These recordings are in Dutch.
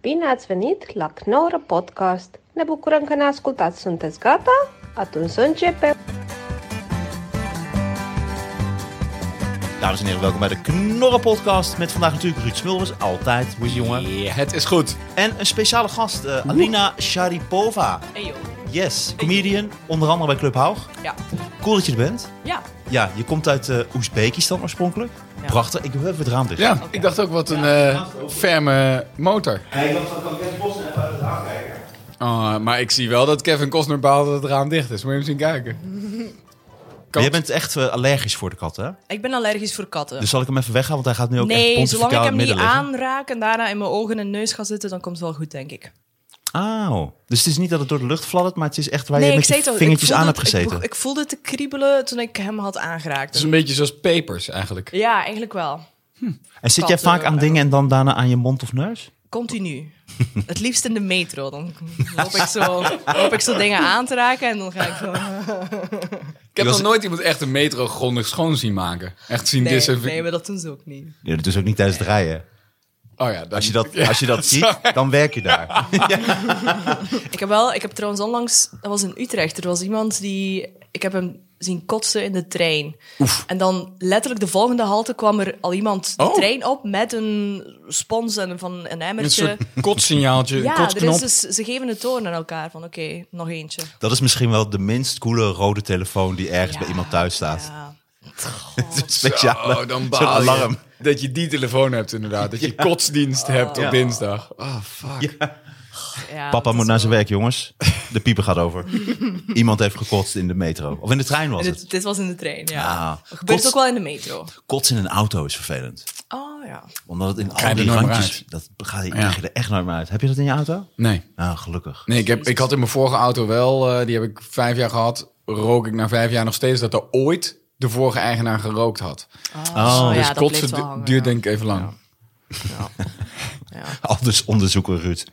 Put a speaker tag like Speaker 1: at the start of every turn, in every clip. Speaker 1: Bine ați venit la Knorr Podcast! Ne bucurăm că ne ascultați! Sunteți gata? Atunci să începem!
Speaker 2: Dames en heren, welkom bij de Knorren Podcast. Met vandaag natuurlijk Ruud Smulders, altijd, hoe is het, jongen.
Speaker 3: Ja, het is goed.
Speaker 2: En een speciale gast, eh, Alina Sharipova.
Speaker 4: Hey joh.
Speaker 2: Yes, comedian, onder andere bij Club Haug.
Speaker 4: Ja.
Speaker 2: Cool dat je er bent.
Speaker 4: Ja.
Speaker 2: Ja, je komt uit eh, Oezbekistan oorspronkelijk.
Speaker 4: Ja.
Speaker 2: Prachtig, ik doe even het raam dicht.
Speaker 3: Ja, ik dacht ook wat een eh, ferme motor. Oh, maar ik zie wel dat Kevin Costner baalt dat het raam dicht is. Moet je hem zien kijken.
Speaker 2: Maar jij bent echt eh, allergisch voor de kat, hè?
Speaker 4: Ik ben allergisch voor katten.
Speaker 2: Dus zal ik hem even weghalen, want hij gaat nu ook echt
Speaker 4: nee, zolang ik
Speaker 2: pontificaal in het
Speaker 4: hem niet
Speaker 2: midden liggen.
Speaker 4: aanraak en daarna in mijn ogen en neus ga zitten, dan komt het wel goed, denk ik.
Speaker 2: Auw. Dus het is niet dat het door de lucht fladdert, maar het is echt waar
Speaker 4: nee,
Speaker 2: je
Speaker 4: ik
Speaker 2: met je
Speaker 4: zei toch, ik
Speaker 2: vingertjes
Speaker 4: voelde
Speaker 2: aan hebt
Speaker 4: het- ik
Speaker 2: gezeten. Dus
Speaker 4: voel- Ik, voelde het te kriebelen toen ik hem had aangeraakt.
Speaker 3: Het is een beetje zoals Papers eigenlijk.
Speaker 4: Ja, eigenlijk wel.
Speaker 2: en zit jij
Speaker 4: katten-
Speaker 2: vaak aan dingen en dan daarna aan je mond of neus?
Speaker 4: Continu. het liefst in de metro. Dan loop ik, zo, loop ik zo dingen aan te raken en dan ga ik zo...
Speaker 3: Ik heb
Speaker 2: was-
Speaker 3: nog nooit iemand echt een metro grondig schoon zien maken. Echt zien
Speaker 4: Nee,
Speaker 3: disinfe-
Speaker 4: nee, maar dat doen ze ook niet.
Speaker 2: Ja, dat is ook niet tijdens het rijden.
Speaker 3: Oh ja, dat,
Speaker 2: Als je dat, als je dat ziet, dan werk je daar.
Speaker 4: Ik heb wel, ik heb trouwens onlangs, dat was in Utrecht, er was iemand die, ik heb hem zien kotsen in de trein. En dan letterlijk de volgende halte kwam er al iemand de
Speaker 3: Oh.
Speaker 4: trein op met een spons en van een
Speaker 3: een
Speaker 4: emmertje.
Speaker 3: soort kotsignaaltje, een
Speaker 4: ja, er
Speaker 3: kotsknop.
Speaker 4: is dus, ze geven het toon aan elkaar van oké, nog eentje.
Speaker 2: Dat is misschien wel de minst coole rode telefoon die ergens
Speaker 4: Ja.
Speaker 2: bij iemand thuis staat.
Speaker 4: Ja.
Speaker 2: Een speciale
Speaker 3: oh, dan
Speaker 2: zo'n
Speaker 3: baal je.
Speaker 2: alarm.
Speaker 3: Dat je die telefoon hebt inderdaad. Dat je kotsdienst hebt op dinsdag. Oh, fuck.
Speaker 4: Ja,
Speaker 2: Papa
Speaker 4: dat
Speaker 2: moet
Speaker 4: is
Speaker 2: naar zijn
Speaker 4: wel-
Speaker 2: werk, jongens. De pieper gaat over. Iemand heeft gekotst in de metro. Of in de trein was het.
Speaker 4: Dit, dit was in de trein, ja.
Speaker 2: Ah,
Speaker 4: Dat gebeurt
Speaker 2: kots-
Speaker 4: ook wel in de metro.
Speaker 2: Kotsen in een auto is vervelend.
Speaker 4: Oh ja.
Speaker 2: Omdat het in
Speaker 3: je
Speaker 2: al
Speaker 3: er
Speaker 2: die
Speaker 3: nooit meer
Speaker 2: randjes...
Speaker 3: uit.
Speaker 2: Dat ga je,
Speaker 3: Ja.
Speaker 2: krijg je er echt nooit meer uit. Heb je dat in je auto?
Speaker 3: Nee.
Speaker 2: Nou, gelukkig.
Speaker 3: Nee, ik, heb, ik had in mijn vorige auto wel, eh, die heb ik vijf jaar gehad, rook ik na vijf jaar nog steeds dat er ooit de vorige eigenaar gerookt had.
Speaker 2: Oh,
Speaker 4: ja,
Speaker 3: dus
Speaker 4: dat
Speaker 3: kotsen
Speaker 4: bleef wel
Speaker 3: du-
Speaker 4: hangen,
Speaker 3: duurt
Speaker 4: ja.
Speaker 3: denk ik even lang.
Speaker 2: Al dus onderzoeken, Ruud.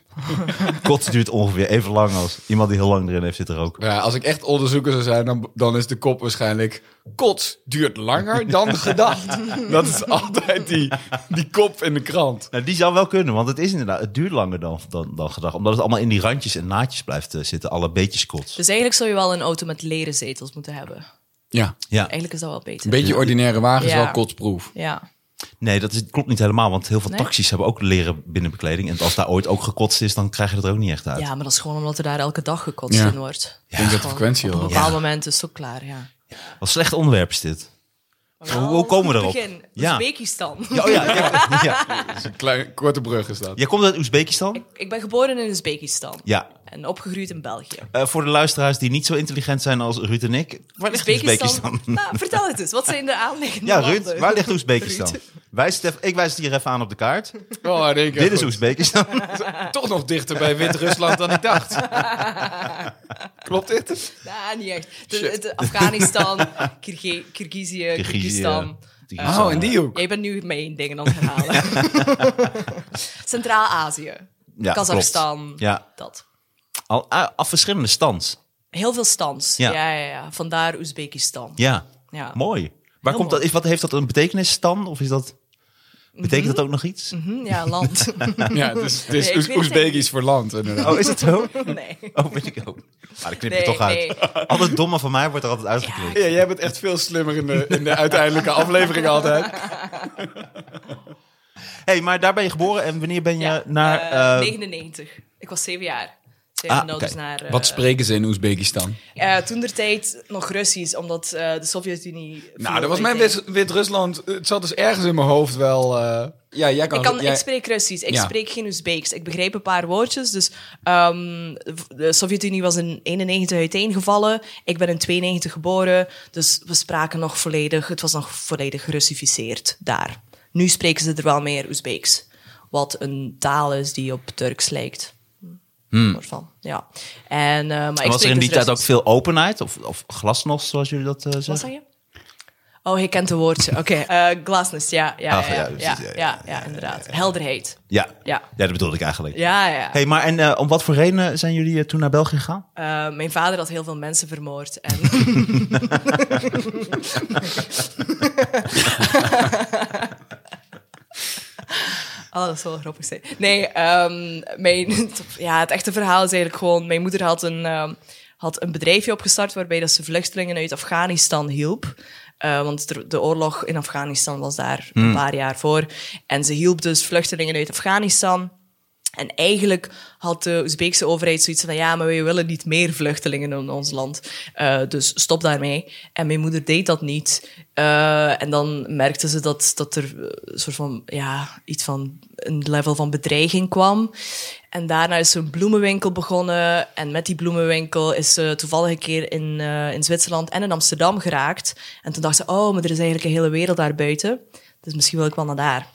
Speaker 2: Kotsen duurt ongeveer even lang als iemand die heel lang erin heeft zitten roken.
Speaker 3: Ja. als ik echt onderzoeker zou zijn, dan, dan is de kop waarschijnlijk... Kots duurt langer dan gedacht. dat is altijd die, die kop in de krant.
Speaker 2: Nou, die zou wel kunnen, want het is inderdaad, het duurt langer dan, dan, dan gedacht. Omdat het allemaal in die randjes en naadjes blijft eh, zitten, alle beetjes kots.
Speaker 4: Dus eigenlijk zou je wel een auto met leren zetels moeten hebben.
Speaker 3: Ja,
Speaker 2: Ja,
Speaker 4: Eigenlijk is dat wel beter.
Speaker 3: een beetje ordinaire wagen is
Speaker 4: Ja.
Speaker 3: wel kotsproef.
Speaker 4: Ja.
Speaker 2: nee, dat is, klopt niet helemaal, want heel veel
Speaker 4: Nee?
Speaker 2: taxis hebben ook leren binnenbekleding. En als daar ooit ook gekotst is, dan krijg je het er ook niet echt uit.
Speaker 4: Ja, maar dat is gewoon omdat er daar elke dag gekotst
Speaker 3: Ja.
Speaker 4: in wordt.
Speaker 3: Ik denk dat de
Speaker 4: Gewoon
Speaker 3: frequentie
Speaker 4: Op een
Speaker 3: al...
Speaker 4: bepaald
Speaker 2: Ja.
Speaker 4: moment is het ook klaar, ja.
Speaker 2: Wat slecht onderwerp is dit. Hoe- hoe komen we erop?
Speaker 4: Oh, nou, Begin.
Speaker 2: Ja.
Speaker 4: Oezbekistan.
Speaker 2: Ja, oh ja, ja, ja.
Speaker 3: Een klein, korte brug is dat.
Speaker 2: Jij komt uit Oezbekistan?
Speaker 4: Ik ben geboren in Oezbekistan.
Speaker 2: Ja.
Speaker 4: En opgegroeid in België.
Speaker 2: Eh, voor de luisteraars die niet zo intelligent zijn als Ruud en ik, waar ligt Oezbekistan?
Speaker 4: Nou, vertel het eens. Wat zijn de aanleggingen?
Speaker 2: Ja, Ruud, waar ligt Oezbekistan? Wijs het even- ik wijs het hier even aan op de kaart.
Speaker 3: Oh, in één keer
Speaker 2: Dit is
Speaker 3: goed.
Speaker 2: Oezbekistan.
Speaker 3: Toch nog dichter bij Wit-Rusland dan ik dacht. Klopt dit?
Speaker 4: Nou, niet echt. De- de- Afghanistan, Kyrgyz- Kyrgyzije, Kyrgyzstan.
Speaker 2: Kyrgyzstan.
Speaker 3: Oh, in die hoek.
Speaker 4: Jij bent nu mee in dingen aan het herhalen. Centraal-Azië.
Speaker 2: Ja,
Speaker 4: Kazachstan.
Speaker 2: klopt. Ja,
Speaker 4: Dat.
Speaker 2: al, ah, af verschillende stands.
Speaker 4: Heel veel stands.
Speaker 2: Ja.
Speaker 4: Ja, ja, ja. Vandaar Oezbekistan.
Speaker 2: Ja,
Speaker 4: Ja.
Speaker 2: mooi. Waar komt dat?
Speaker 4: mooi. Mhm.
Speaker 2: Is, wat heeft dat een betekenis dan? Of is dat betekent dat ook nog iets?
Speaker 4: Hm, ja, land.
Speaker 3: Ja, het is, het is
Speaker 4: Nee, ik
Speaker 3: Oez-
Speaker 4: weet het
Speaker 3: Oezbekisch voor land, inderdaad.
Speaker 2: Oh, is het zo?
Speaker 4: nee.
Speaker 2: Oh, weet ik ook. Maar ik knip het
Speaker 4: Nee,
Speaker 2: toch
Speaker 4: nee.
Speaker 2: uit. Al het domme van mij wordt er altijd uitgeknipt.
Speaker 3: Ja, jij bent echt veel slimmer in de, in de uiteindelijke aflevering altijd.
Speaker 2: hey, maar daar ben je geboren en wanneer ben je
Speaker 4: Ja,
Speaker 2: naar...
Speaker 4: eh,
Speaker 2: eh,
Speaker 4: 99. Ik was zeven jaar. Zijn we
Speaker 2: Ah,
Speaker 4: nou
Speaker 2: oké.
Speaker 4: dus naar, eh,
Speaker 3: Wat spreken ze in Oezbekistan?
Speaker 4: toen der tijd nog Russisch, omdat eh, de Sovjet-Unie.
Speaker 3: Nou, dat was mijn Wit- Wit-Rusland. Het zat dus ergens in mijn hoofd wel... eh, ja, jij kan...
Speaker 4: Ik, kan,
Speaker 3: jij-
Speaker 4: ik spreek Russisch, ik
Speaker 3: Ja.
Speaker 4: spreek geen Oezbeeks. Ik begrijp een paar woordjes. Dus ehm, de Sovjet-Unie was in 91 uiteengevallen. Ik ben in 92 geboren. Dus we spraken nog volledig. Het was nog volledig gerussificeerd daar. Nu spreken ze er wel meer Oezbeeks. Wat een taal is die op Turks lijkt. Soort van, Ja. En, eh, maar ik
Speaker 2: Hmm. was er in
Speaker 4: spreek dus
Speaker 2: die tijd ook
Speaker 4: Russisch.
Speaker 2: veel openheid? Of, of glasnost, zoals jullie dat eh,
Speaker 4: Wat
Speaker 2: zeggen?
Speaker 4: zei je? Oh, je kent de woordje. Oké, eh glasness, ja. Ja,
Speaker 2: Ach,
Speaker 4: ja,
Speaker 2: Ah, ja,
Speaker 4: ja,
Speaker 2: precies,
Speaker 4: ja,
Speaker 2: ja, ja,
Speaker 4: ja, ja, inderdaad. Helderheid.
Speaker 2: Ja.
Speaker 4: Ja.
Speaker 2: ja, dat bedoelde ik eigenlijk.
Speaker 4: Ja, ja.
Speaker 2: hey, maar en eh, om wat voor reden zijn jullie eh, toen naar België gegaan?
Speaker 4: Eh, mijn vader had heel veel mensen vermoord. En Oh, dat zal wel grappig zijn. Nee, ehm, mijn, ja, het echte verhaal is eigenlijk gewoon... Mijn moeder had een, ehm, had een bedrijfje opgestart waarbij dat ze vluchtelingen uit Afghanistan hielp. Eh, want er- de oorlog in Afghanistan was daar een paar jaar voor. En ze hielp dus vluchtelingen uit Afghanistan. En eigenlijk had de Oezbeekse overheid zoiets van: ja, maar we willen niet meer vluchtelingen in ons land. Eh, dus stop daarmee. En mijn moeder deed dat niet. Eh, en dan merkte ze dat, dat er eh, een soort van, ja, iets van een level van bedreiging kwam. En daarna is ze een bloemenwinkel begonnen. En met die bloemenwinkel is ze toevallig een keer in, eh, in Zwitserland en in Amsterdam geraakt. En toen dacht ze: oh, maar er is eigenlijk een hele wereld daarbuiten. Dus misschien wil ik wel naar daar.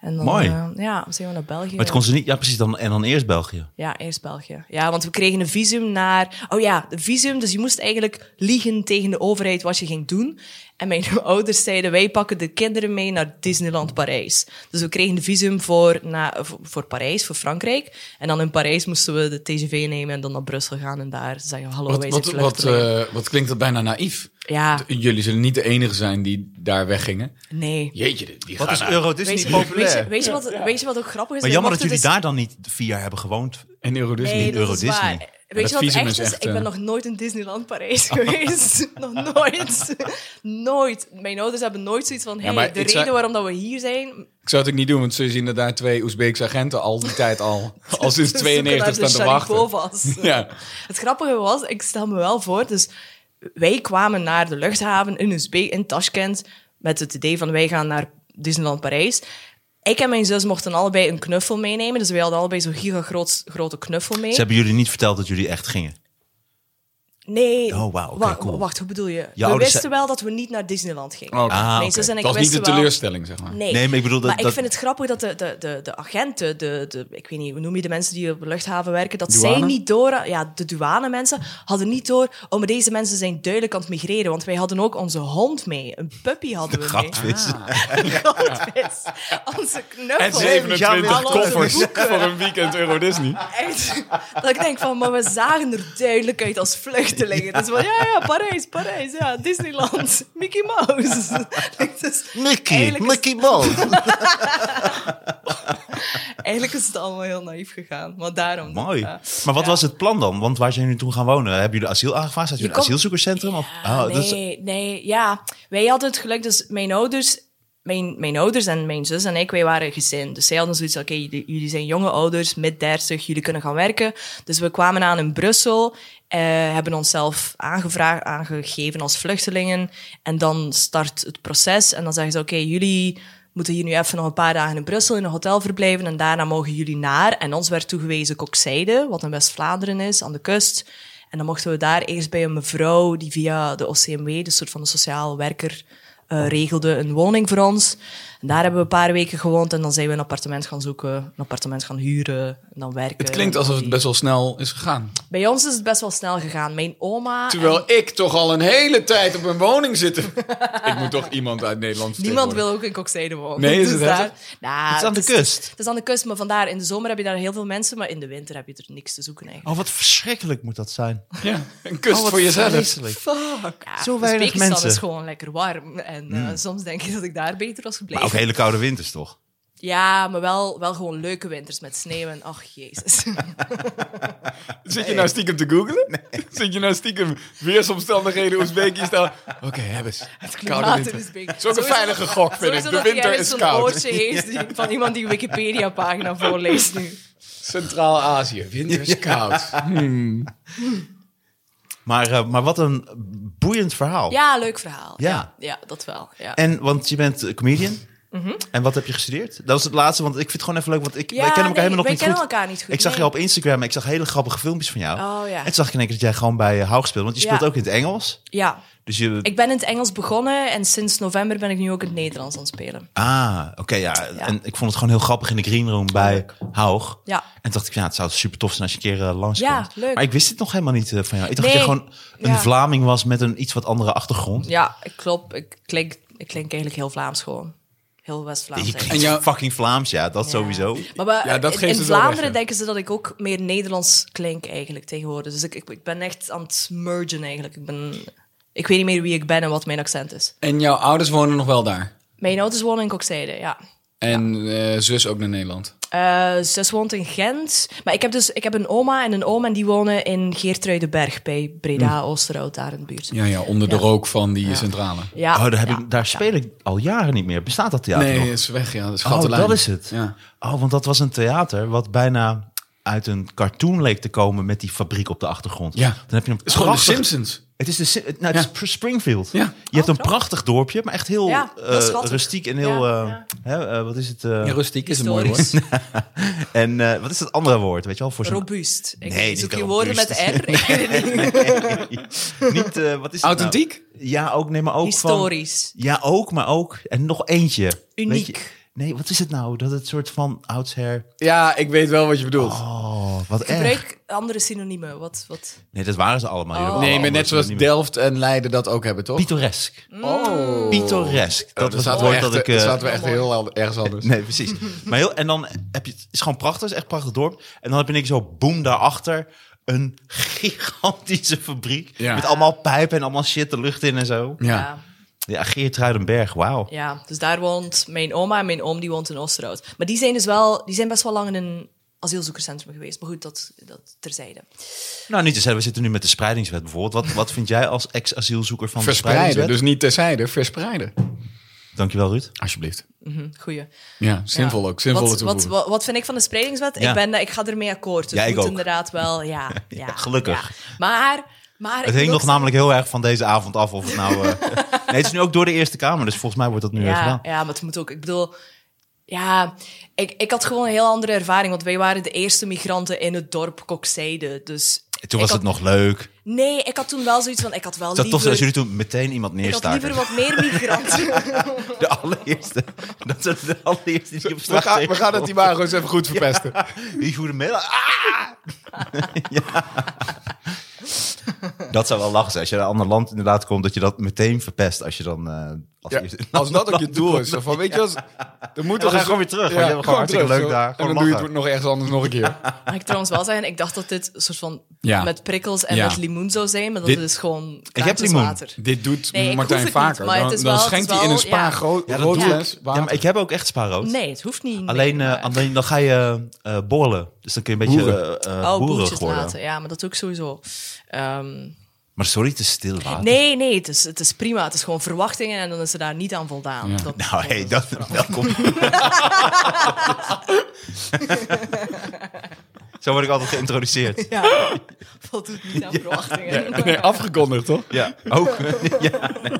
Speaker 4: En dan,
Speaker 2: Mooi.
Speaker 4: eh, ja, zijn we naar België.
Speaker 2: Maar het kon ze niet... Ja, precies. Dan, en dan eerst België.
Speaker 4: Ja, eerst België. Ja, want we kregen een visum naar... Oh ja, een visum. Dus je moest eigenlijk liegen tegen de overheid wat je ging doen. En mijn ouders zeiden, wij pakken de kinderen mee naar Disneyland Parijs. Dus we kregen een visum voor, na, voor- voor Parijs, voor Frankrijk. En dan in Parijs moesten we de TGV nemen en dan naar Brussel gaan. En daar zeggen, hallo,
Speaker 3: Wat,
Speaker 4: wij
Speaker 3: wat,
Speaker 4: zijn
Speaker 3: wat,
Speaker 4: vluchtelingen.
Speaker 3: eh, wat klinkt dat bijna naïef?
Speaker 4: ja,
Speaker 3: Jullie zullen niet de enige zijn die daar weggingen.
Speaker 4: nee.
Speaker 3: Jeetje, die- die
Speaker 2: Wat
Speaker 3: gaan
Speaker 2: is
Speaker 3: naar-
Speaker 2: Euro Disney
Speaker 4: Weet je,
Speaker 2: populair?
Speaker 4: weet, je, weet je wat, weet je wat ook grappig is?
Speaker 2: maar
Speaker 4: We
Speaker 2: jammer dat
Speaker 4: mochten
Speaker 2: jullie
Speaker 4: dus-
Speaker 2: daar dan niet vier jaar hebben gewoond.
Speaker 3: En Euro dus Disney.
Speaker 4: Nee, dat
Speaker 2: Euro
Speaker 4: is
Speaker 2: Disney.
Speaker 4: waar.
Speaker 2: Ja,
Speaker 3: dat
Speaker 4: Weet je wat het
Speaker 3: visum is
Speaker 4: echt is?
Speaker 3: echt,
Speaker 4: Ik ben
Speaker 3: eh,
Speaker 4: nog nooit in Disneyland Parijs geweest. nog nooit. nooit. Mijn ouders hebben nooit zoiets van... hey,
Speaker 3: maar
Speaker 4: de
Speaker 3: ik
Speaker 4: reden
Speaker 3: zei-
Speaker 4: waarom dat we hier zijn...
Speaker 3: Ik zou het ook niet doen, want ze zien dat daar twee Oezbeekse agenten al die tijd al, al sinds
Speaker 4: ze zoeken
Speaker 3: 92 staan
Speaker 4: naar de
Speaker 3: te wachten.
Speaker 4: Sharipovas.
Speaker 3: Ja.
Speaker 4: Het grappige was, ik stel me wel voor... Dus wij kwamen naar de luchthaven in Uzbek, in Tashkent... met het idee van wij gaan naar Disneyland Parijs... Ik en mijn zus mochten allebei een knuffel meenemen. Dus wij hadden allebei zo'n gigagroot grote knuffel mee.
Speaker 2: Ze hebben jullie niet verteld dat jullie echt gingen.
Speaker 4: Nee.
Speaker 2: Oh, wauw, oké,
Speaker 4: Wa-
Speaker 2: cool.
Speaker 4: Wacht, hoe bedoel je?
Speaker 2: ouders
Speaker 4: we wisten
Speaker 2: zei-
Speaker 4: wel dat we niet naar Disneyland gingen.
Speaker 3: Oké.
Speaker 2: Ah,
Speaker 4: Mijn
Speaker 2: oké.
Speaker 4: zus en ik
Speaker 3: Dat was niet de
Speaker 4: wisten wel-
Speaker 3: teleurstelling, zeg maar.
Speaker 4: Nee.
Speaker 2: Nee, maar ik bedoel dat-
Speaker 4: Maar ik
Speaker 2: dat-
Speaker 4: vind het grappig dat de, de, de, de agenten, de, de, ik weet niet, hoe noem je de mensen die op de luchthaven werken, dat
Speaker 3: Douane?
Speaker 4: zij niet door, ja, de douane mensen hadden niet door, oh, maar deze mensen zijn duidelijk aan het migreren, want wij hadden ook onze hond mee. Een puppy hadden we mee.
Speaker 2: Grapvis.
Speaker 4: Goudvis. Onze knuffel.
Speaker 3: En 27
Speaker 4: Hallo, onze
Speaker 3: koffers
Speaker 4: boeken.
Speaker 3: voor een weekend Euro Disney.
Speaker 4: Echt. Dat ik denk van, maar we zagen er duidelijk uit als vluchtelingen. Dus van, ja, ja, Parijs, Parijs, ja, Disneyland, Mickey Mouse. Dus
Speaker 2: Mickey,
Speaker 4: eigenlijk is-
Speaker 2: Mickey Mouse.
Speaker 4: Eigenlijk is het allemaal heel naïef gegaan. Maar daarom.
Speaker 2: Mooi.
Speaker 4: ja.
Speaker 2: Maar wat was het plan dan? Want waar zijn jullie toen gaan wonen? Hebben jullie asiel aangevraagd? Zaten jullie in een
Speaker 4: kon-
Speaker 2: asielzoekerscentrum? Of...
Speaker 4: Ja,
Speaker 2: Ah, dat is-
Speaker 4: nee, nee, ja. Wij hadden het geluk, dus mijn ouders... Mijn, mijn ouders en mijn zus en ik, wij waren een gezin. Dus zij hadden zoiets van, oké, jullie, jullie zijn jonge ouders, mid 30, jullie kunnen gaan werken. Dus we kwamen aan in Brussel, eh, hebben onszelf aangevraagd, aangegeven als vluchtelingen. En dan start het proces en dan zeggen ze, oké, jullie moeten hier nu even nog een paar dagen in Brussel in een hotel verblijven. En daarna mogen jullie naar. En ons werd toegewezen Kokzijde, wat in West-Vlaanderen is, aan de kust. En dan mochten we daar eerst bij een mevrouw die via de OCMW, de dus soort van de sociaal werker, eh, regelde een woning voor ons. En daar hebben we een paar weken gewoond en dan zijn we een appartement gaan zoeken, een appartement gaan huren en dan werken.
Speaker 3: Het klinkt alsof
Speaker 4: Eh,
Speaker 3: het best wel snel is gegaan.
Speaker 4: Bij ons is het best wel snel gegaan. Mijn oma... Ah, en-
Speaker 3: Terwijl ik toch al een hele tijd op een woning zit. ik moet toch iemand uit Nederland
Speaker 4: Niemand wil
Speaker 3: vertegenwoordigen.
Speaker 4: ook in Kokzijde wonen.
Speaker 3: Nee, is
Speaker 4: Dus
Speaker 3: het echt?
Speaker 4: daar- Nou,
Speaker 2: Het is aan de kust.
Speaker 4: Het is aan de kust, maar vandaar in de zomer heb je daar heel veel mensen, maar in de winter heb je er niks te zoeken eigenlijk.
Speaker 2: Oh, wat verschrikkelijk moet dat zijn.
Speaker 3: Ja, een kust
Speaker 2: Oh, wat
Speaker 3: voor jezelf.
Speaker 2: vreselijk.
Speaker 4: Ja,
Speaker 2: Oh, Zo weinig
Speaker 4: Oezbekistan
Speaker 2: mensen.
Speaker 4: is gewoon lekker warm en eh,
Speaker 3: Hmm.
Speaker 4: soms denk je dat ik daar beter was gebleven.
Speaker 2: Maar ook hele koude winters, toch?
Speaker 4: Ja, maar wel, wel gewoon leuke winters met sneeuw en ach jezus.
Speaker 3: Zit je nou stiekem te googlen? Zit je nou stiekem weersomstandigheden Oezbekistan? Oké, hebben ze. Het
Speaker 4: Klimaat in Uzbekistan.
Speaker 3: is ook een
Speaker 4: Sowieso-
Speaker 3: veilige gok, vind
Speaker 4: sowieso
Speaker 3: ik. De
Speaker 4: dat jij
Speaker 3: winter
Speaker 4: eens
Speaker 3: is
Speaker 4: zo'n
Speaker 3: koud.
Speaker 4: oortje heeft die- van iemand die een Wikipedia-pagina voorleest nu.
Speaker 3: Centraal-Azië, winter is koud. Hmm.
Speaker 2: Maar, eh, maar wat een boeiend
Speaker 3: Oh.
Speaker 2: verhaal.
Speaker 4: Ja, leuk verhaal.
Speaker 2: Ja.
Speaker 4: ja, ja, dat wel. Ja.
Speaker 2: En, want je bent eh, comedian. En wat heb je gestudeerd? Dat is het laatste, want ik vind het gewoon even leuk, want ik,
Speaker 4: Mhm. Ja,
Speaker 2: wij kennen elkaar
Speaker 4: nee,
Speaker 2: helemaal nog
Speaker 4: wij
Speaker 2: niet
Speaker 4: kennen
Speaker 2: goed.
Speaker 4: elkaar niet goed,
Speaker 2: Ik zag
Speaker 4: nee.
Speaker 2: jou op Instagram en ik zag hele grappige filmpjes van jou.
Speaker 4: Oh, ja.
Speaker 2: En toen zag ik in één keer dat jij gewoon bij eh, Haug speelt, want je speelt
Speaker 4: Ja.
Speaker 2: ook in het Engels.
Speaker 4: ja,
Speaker 2: Dus je...
Speaker 4: ik ben in het Engels begonnen en sinds november ben ik nu ook in het Nederlands aan het spelen.
Speaker 2: Ah, oké, ja. En ik vond het gewoon heel grappig in de green room bij Haug.
Speaker 4: Ja.
Speaker 2: En toen dacht ik, ja, het zou super tof zijn als je een keer eh, langskomt.
Speaker 4: Ja, leuk.
Speaker 2: Maar ik wist dit nog helemaal niet eh, van jou. Ik dacht dat
Speaker 4: Nee,
Speaker 2: je gewoon een
Speaker 4: ja.
Speaker 2: Vlaming was met een iets wat andere achtergrond.
Speaker 4: Ja, ik klopt. Ik klink, ik klink eigenlijk heel Vlaams gewoon. Heel West-Vlaams.
Speaker 2: Je
Speaker 4: eigenlijk.
Speaker 2: klinkt
Speaker 3: En jou-
Speaker 2: fucking Vlaams, ja, dat sowieso.
Speaker 4: Maar, we-
Speaker 3: Ja, dat
Speaker 4: in-
Speaker 3: geeft
Speaker 4: in
Speaker 3: het wel weg,
Speaker 4: Vlaanderen
Speaker 3: ja.
Speaker 4: denken ze dat ik ook meer Nederlands klink eigenlijk tegenwoordig. Dus ik, ik, ik ben echt aan het mergen eigenlijk. Ik, ben, ik weet niet meer wie ik ben en wat mijn accent is.
Speaker 3: En jouw ouders wonen nog wel daar?
Speaker 4: Mijn ouders wonen in Kokzijde, ja.
Speaker 3: En eh, zus ook naar Nederland.
Speaker 4: Eh, zus woont in Gent. Maar ik heb dus ik heb een oma en een oom en die wonen in Geertruidenberg bij Breda,
Speaker 2: Mm.
Speaker 4: Oosterhout, daar in de buurt.
Speaker 3: Ja, ja onder de rook van die centrale.
Speaker 4: Ja,
Speaker 2: oh, daar, heb
Speaker 4: Ah, ja.
Speaker 2: ik, daar speel ik al jaren niet meer. Bestaat dat theater
Speaker 3: nee,
Speaker 2: nog?
Speaker 3: is weg, ja. Dat is
Speaker 2: Oh,
Speaker 3: Gatterlijn.
Speaker 2: dat is het.
Speaker 3: Ja.
Speaker 2: Oh, want dat was een theater wat bijna uit een cartoon leek te komen met die fabriek op de achtergrond.
Speaker 3: Ja.
Speaker 2: Dan heb je een
Speaker 3: Het is gewoon de
Speaker 2: prachtig-
Speaker 3: Simpsons.
Speaker 2: Het is, de, Sim- het- nou, het is Springfield.
Speaker 3: Ja.
Speaker 2: Je hebt een prachtig dorpje, maar echt heel
Speaker 4: Oh, Ja,
Speaker 2: eh,
Speaker 4: heel schattig.
Speaker 2: rustiek en heel...
Speaker 4: Ja,
Speaker 2: eh,
Speaker 4: ja.
Speaker 2: Hè, eh, wat is het? eh,
Speaker 3: rustiek is
Speaker 4: Historisch.
Speaker 2: en eh, wat is het andere woord, weet je wel? Voor zo'n-
Speaker 4: Robuust. Ik
Speaker 2: Nee,
Speaker 4: zoek
Speaker 2: niet
Speaker 4: je woorden met
Speaker 2: robuust.
Speaker 4: R. Ik weet het niet.
Speaker 2: Niet, eh, wat is het
Speaker 3: Authentiek?
Speaker 2: nou? Ja, ook, nee, maar ook van...
Speaker 4: Historisch.
Speaker 2: Ja, ook, maar ook... En nog eentje. Weet
Speaker 4: Uniek.
Speaker 2: je- nee, wat is het nou? Dat het soort van oudsher...
Speaker 3: Ja, ik weet wel wat je bedoelt.
Speaker 2: Oh, wat erg.
Speaker 4: Gebruik andere synoniemen. Wat, wat?
Speaker 2: Nee, dat waren ze allemaal. Die
Speaker 4: Oh.
Speaker 2: hebben
Speaker 3: nee, maar
Speaker 2: allemaal
Speaker 3: net zoals
Speaker 2: niet meer.
Speaker 3: Delft en Leiden dat ook hebben, toch?
Speaker 2: Pittoresk.
Speaker 3: Oh.
Speaker 2: Pittoresk.
Speaker 3: Dat
Speaker 2: Dat was het
Speaker 3: zaten, we
Speaker 2: woord
Speaker 3: echt,
Speaker 2: dat ik...
Speaker 3: eh,
Speaker 2: eh,
Speaker 3: zaten we echt heel al- ergens anders.
Speaker 2: Nee, precies. Maar heel, en dan heb je het is gewoon prachtig, het is echt een prachtig dorp. En dan heb je niks zo boem daarachter een gigantische fabriek
Speaker 3: Ja.
Speaker 2: met allemaal pijpen en allemaal shit de lucht in en zo.
Speaker 3: Ja.
Speaker 4: Ja.
Speaker 2: Ja, Geertruidenberg, wauw.
Speaker 4: ja, dus daar woont mijn oma en mijn oom die woont in Oosterhout. Maar die zijn dus wel, die zijn best wel lang in een asielzoekerscentrum geweest. Maar goed, dat, dat terzijde.
Speaker 2: Nou, niet te zeggen, we zitten nu met de spreidingswet bijvoorbeeld. Wat, wat vind jij als ex-asielzoeker van de
Speaker 3: Verspreiden,
Speaker 2: spreidingswet?
Speaker 3: dus niet terzijde, verspreiden.
Speaker 2: Dankjewel, Ruud.
Speaker 3: Alsjeblieft.
Speaker 4: Hm, Goeie.
Speaker 3: Ja, zinvol
Speaker 4: Ja.
Speaker 3: ook. Zinvolle
Speaker 4: wat, wat,
Speaker 3: toevoeging.
Speaker 4: wat, wat vind ik van de spreidingswet?
Speaker 2: Ja.
Speaker 4: Ik, ben, eh, ik ga ermee akkoord. Dus
Speaker 2: Ja,
Speaker 4: het
Speaker 2: ik
Speaker 4: moet
Speaker 2: ook.
Speaker 4: inderdaad wel, ja. ja,
Speaker 2: gelukkig.
Speaker 4: ja. Maar, maar... ik
Speaker 2: Het hing
Speaker 4: wil
Speaker 2: nog
Speaker 4: ook
Speaker 2: namelijk heel erg van deze avond af of het nou... eh, nee, het is nu ook door de Eerste Kamer, dus volgens mij wordt dat nu weer
Speaker 4: ja,
Speaker 2: gedaan.
Speaker 4: ja, maar het moet ook. Ik bedoel, ja, ik, ik had gewoon een heel andere ervaring. Want wij waren de eerste migranten in het dorp Kokzijde. Dus
Speaker 2: En Toen
Speaker 4: ik
Speaker 2: was het
Speaker 4: had-
Speaker 2: nog leuk.
Speaker 4: Nee, ik had toen wel zoiets van, ik had wel
Speaker 2: Het was
Speaker 4: liever...
Speaker 2: toch zo dat jullie toen meteen iemand
Speaker 4: ik had
Speaker 2: neerstaken.
Speaker 4: liever wat meer migranten.
Speaker 2: De allereerste. Dat zijn de allereerste die op
Speaker 3: We,
Speaker 2: straat
Speaker 3: gaan, we gaan het
Speaker 2: tegenkomen.
Speaker 3: imago eens even goed verpesten.
Speaker 2: Die goedemiddag. Ah! ja. Dat zou wel lachen zijn. Als je naar een ander land inderdaad komt, dat je dat meteen verpest. Als je dan... eh, als,
Speaker 3: Ja,
Speaker 2: eerste-
Speaker 3: als dat ook je doel is. zo Van, weet je, als, dan moeten
Speaker 2: we gaan gewoon weer terug, want je hebt gewoon hartstikke leuk daar.
Speaker 3: En dan
Speaker 2: Gewoon
Speaker 3: doe je
Speaker 2: lachen.
Speaker 3: het nog ergens anders nog een keer.
Speaker 4: Mag ik trouwens wel zeggen, ik dacht dat dit een soort van
Speaker 3: Ja.
Speaker 4: met prikkels en
Speaker 3: Ja.
Speaker 4: met limoen zou zijn. Maar dat
Speaker 2: Dit-
Speaker 4: het is gewoon
Speaker 2: heb
Speaker 4: kraantjes
Speaker 2: limoen.
Speaker 4: water.
Speaker 3: Dit doet
Speaker 4: Nee, ik
Speaker 3: Martijn
Speaker 4: hoef het niet,
Speaker 3: vaker.
Speaker 4: maar het
Speaker 3: dan
Speaker 4: is
Speaker 3: dan
Speaker 4: wel- het
Speaker 3: schenkt
Speaker 4: is
Speaker 3: hij in een
Speaker 4: wel-
Speaker 3: spa
Speaker 4: ja.
Speaker 3: groot
Speaker 2: Ja, dat
Speaker 3: rood
Speaker 2: doe ik.
Speaker 3: fles
Speaker 2: Ja,
Speaker 3: water.
Speaker 2: maar ik heb ook echt spaarrood.
Speaker 4: Nee, het hoeft niet.
Speaker 2: Alleen,
Speaker 4: Nee,
Speaker 2: eh,
Speaker 4: maar-
Speaker 2: alleen dan ga je eh borrelen. Dus dan kun je een beetje
Speaker 3: Boeren.
Speaker 2: eh eh,
Speaker 4: Oh,
Speaker 2: boerig
Speaker 4: boeltjes
Speaker 2: worden.
Speaker 4: laten. Ja, maar dat doe ik sowieso. Ehm,
Speaker 2: Maar sorry, te stil water.
Speaker 4: nee, nee, het is, het is prima. Het is gewoon verwachtingen en dan is ze daar niet aan voldaan.
Speaker 3: Ja.
Speaker 4: Dat-
Speaker 2: Nou, hey, dat, welkom. Zo word ik altijd geïntroduceerd.
Speaker 4: Ja, voldoet niet aan verwachtingen.
Speaker 3: Nee, afgekondigd toch?
Speaker 2: Ja, ook. ja, nee.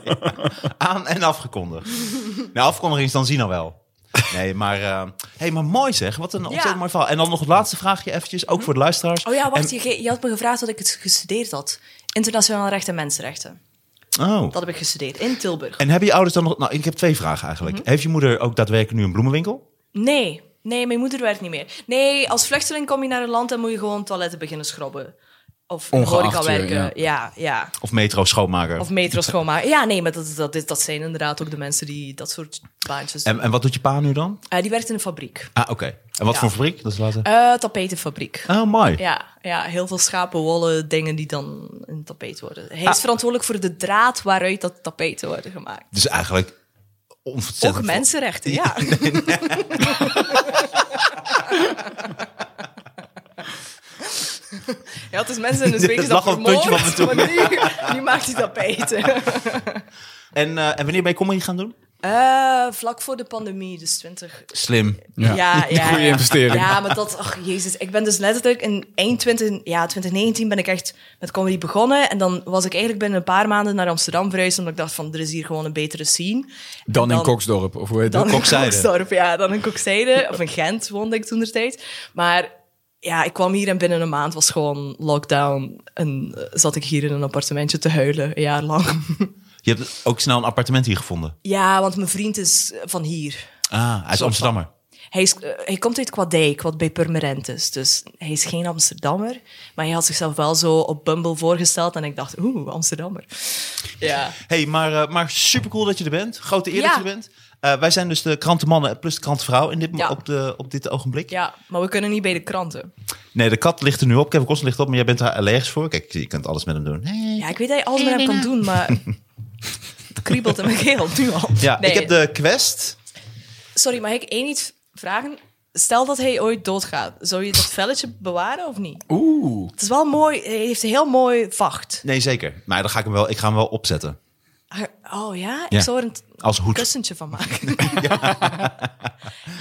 Speaker 2: Aan en afgekondigd. Nou, afkondiging is dan zien al wel. Nee, maar, eh, hey, maar mooi zeg. Wat een ontzettend
Speaker 4: Ja.
Speaker 2: mooi verhaal. En dan nog het laatste vraagje eventjes, ook voor de luisteraars.
Speaker 4: Oh ja, wacht, je, ge- je had me gevraagd wat ik het gestudeerd had. Internationaal recht en mensenrechten.
Speaker 2: Oh.
Speaker 4: Dat heb ik gestudeerd in Tilburg.
Speaker 2: En hebben je ouders dan nog... Nou, ik heb twee vragen eigenlijk.
Speaker 4: Mhm.
Speaker 2: Heeft je moeder ook daadwerkelijk nu een bloemenwinkel?
Speaker 4: Nee, nee, mijn moeder werkt niet meer. Nee, als vluchteling kom je naar een land en moet je gewoon toiletten beginnen schrobben. Of in de
Speaker 3: Ongeacht
Speaker 4: horeca
Speaker 3: je,
Speaker 4: werken. Ja. ja,
Speaker 2: Of metro schoonmaker?
Speaker 4: Of metro schoonmaken. Ja, nee, maar dat, dat, dat zijn inderdaad ook de mensen die dat soort baantjes doen.
Speaker 2: En, en wat doet je pa nu dan?
Speaker 4: Eh, die werkt in een fabriek.
Speaker 2: Ah, oké. En wat
Speaker 4: Ja.
Speaker 2: voor fabriek? Dat is later...
Speaker 4: Eh tapetenfabriek.
Speaker 2: Oh, mooi.
Speaker 4: Ja, ja, heel veel schapen, wollen, dingen die dan in het tapijt worden. Hij
Speaker 2: Ah.
Speaker 4: is verantwoordelijk voor de draad waaruit dat tapijten worden gemaakt.
Speaker 2: Dus eigenlijk ontzettend...
Speaker 4: Ook mensenrechten, ja. Ja, het is mensen in de
Speaker 2: Het
Speaker 4: zweetjes dat
Speaker 2: lag op het puntje
Speaker 4: vermoord,
Speaker 2: van
Speaker 4: maar nu, nu maakt hij tapijten.
Speaker 2: En, eh, en wanneer ben je comedy gaan doen?
Speaker 4: Eh, vlak voor de pandemie, dus 20...
Speaker 2: Slim.
Speaker 4: Ja, ja, ja.
Speaker 3: Goede investering.
Speaker 4: Ja, maar dat... Ach, jezus. Ik ben dus letterlijk in eind 20, ja, 2019 ben ik echt met comedy begonnen. En dan was ik eigenlijk binnen een paar maanden naar Amsterdam verhuisd. Omdat ik dacht van, er is hier gewoon een betere scene.
Speaker 3: Dan in
Speaker 4: dan-
Speaker 3: Koksdorp, of hoe heet dat?
Speaker 4: Dan in
Speaker 2: Kokzijde.
Speaker 4: Koksdorp, ja. Dan in Kokzijde. Of in Gent woonde ik toen er steeds. Maar ja, ik kwam hier en binnen een maand was gewoon lockdown. En eh, zat ik hier in een appartementje te huilen, een jaar lang.
Speaker 2: Je hebt ook snel een appartement hier gevonden.
Speaker 4: Ja, want mijn vriend is eh, van hier.
Speaker 2: Ah, hij is Amsterdammer.
Speaker 4: Hij, is, eh, hij komt uit Kwadijk, wat bij Purmerend is. Dus hij is geen Amsterdammer. Maar hij had zichzelf wel zo op Bumble voorgesteld. En ik dacht, oeh, Amsterdammer. Ja.
Speaker 2: hey, maar, eh, maar super cool dat je er bent. Grote eer dat
Speaker 4: Ja.
Speaker 2: je er bent. Eh, wij zijn dus de krantenmannen plus de krantenvrouw in dit, mo-
Speaker 4: Ja.
Speaker 2: op, de, op dit ogenblik.
Speaker 4: ja, maar we kunnen niet bij de kranten.
Speaker 2: Nee, de kat ligt er nu op. Kevin Kosten ligt op, maar jij bent daar allergisch voor. Kijk, je kunt alles met hem doen.
Speaker 4: Ja, ik weet dat je alles met hem kan doen, maar... Het kriebelt in mijn keel nu al.
Speaker 2: Ja,
Speaker 4: Nee.
Speaker 2: ik heb de Quest.
Speaker 4: Sorry, mag ik één iets vragen? Stel dat hij ooit doodgaat, zou je dat velletje bewaren of niet?
Speaker 3: Oeh.
Speaker 4: Het is wel mooi, hij heeft een heel mooi vacht.
Speaker 2: Nee, zeker. Maar dan ga ik hem wel, ik ga hem wel opzetten.
Speaker 4: Oh ja,
Speaker 2: Ja.
Speaker 4: ik zou er een
Speaker 2: Als hoed.
Speaker 4: kussentje van maken.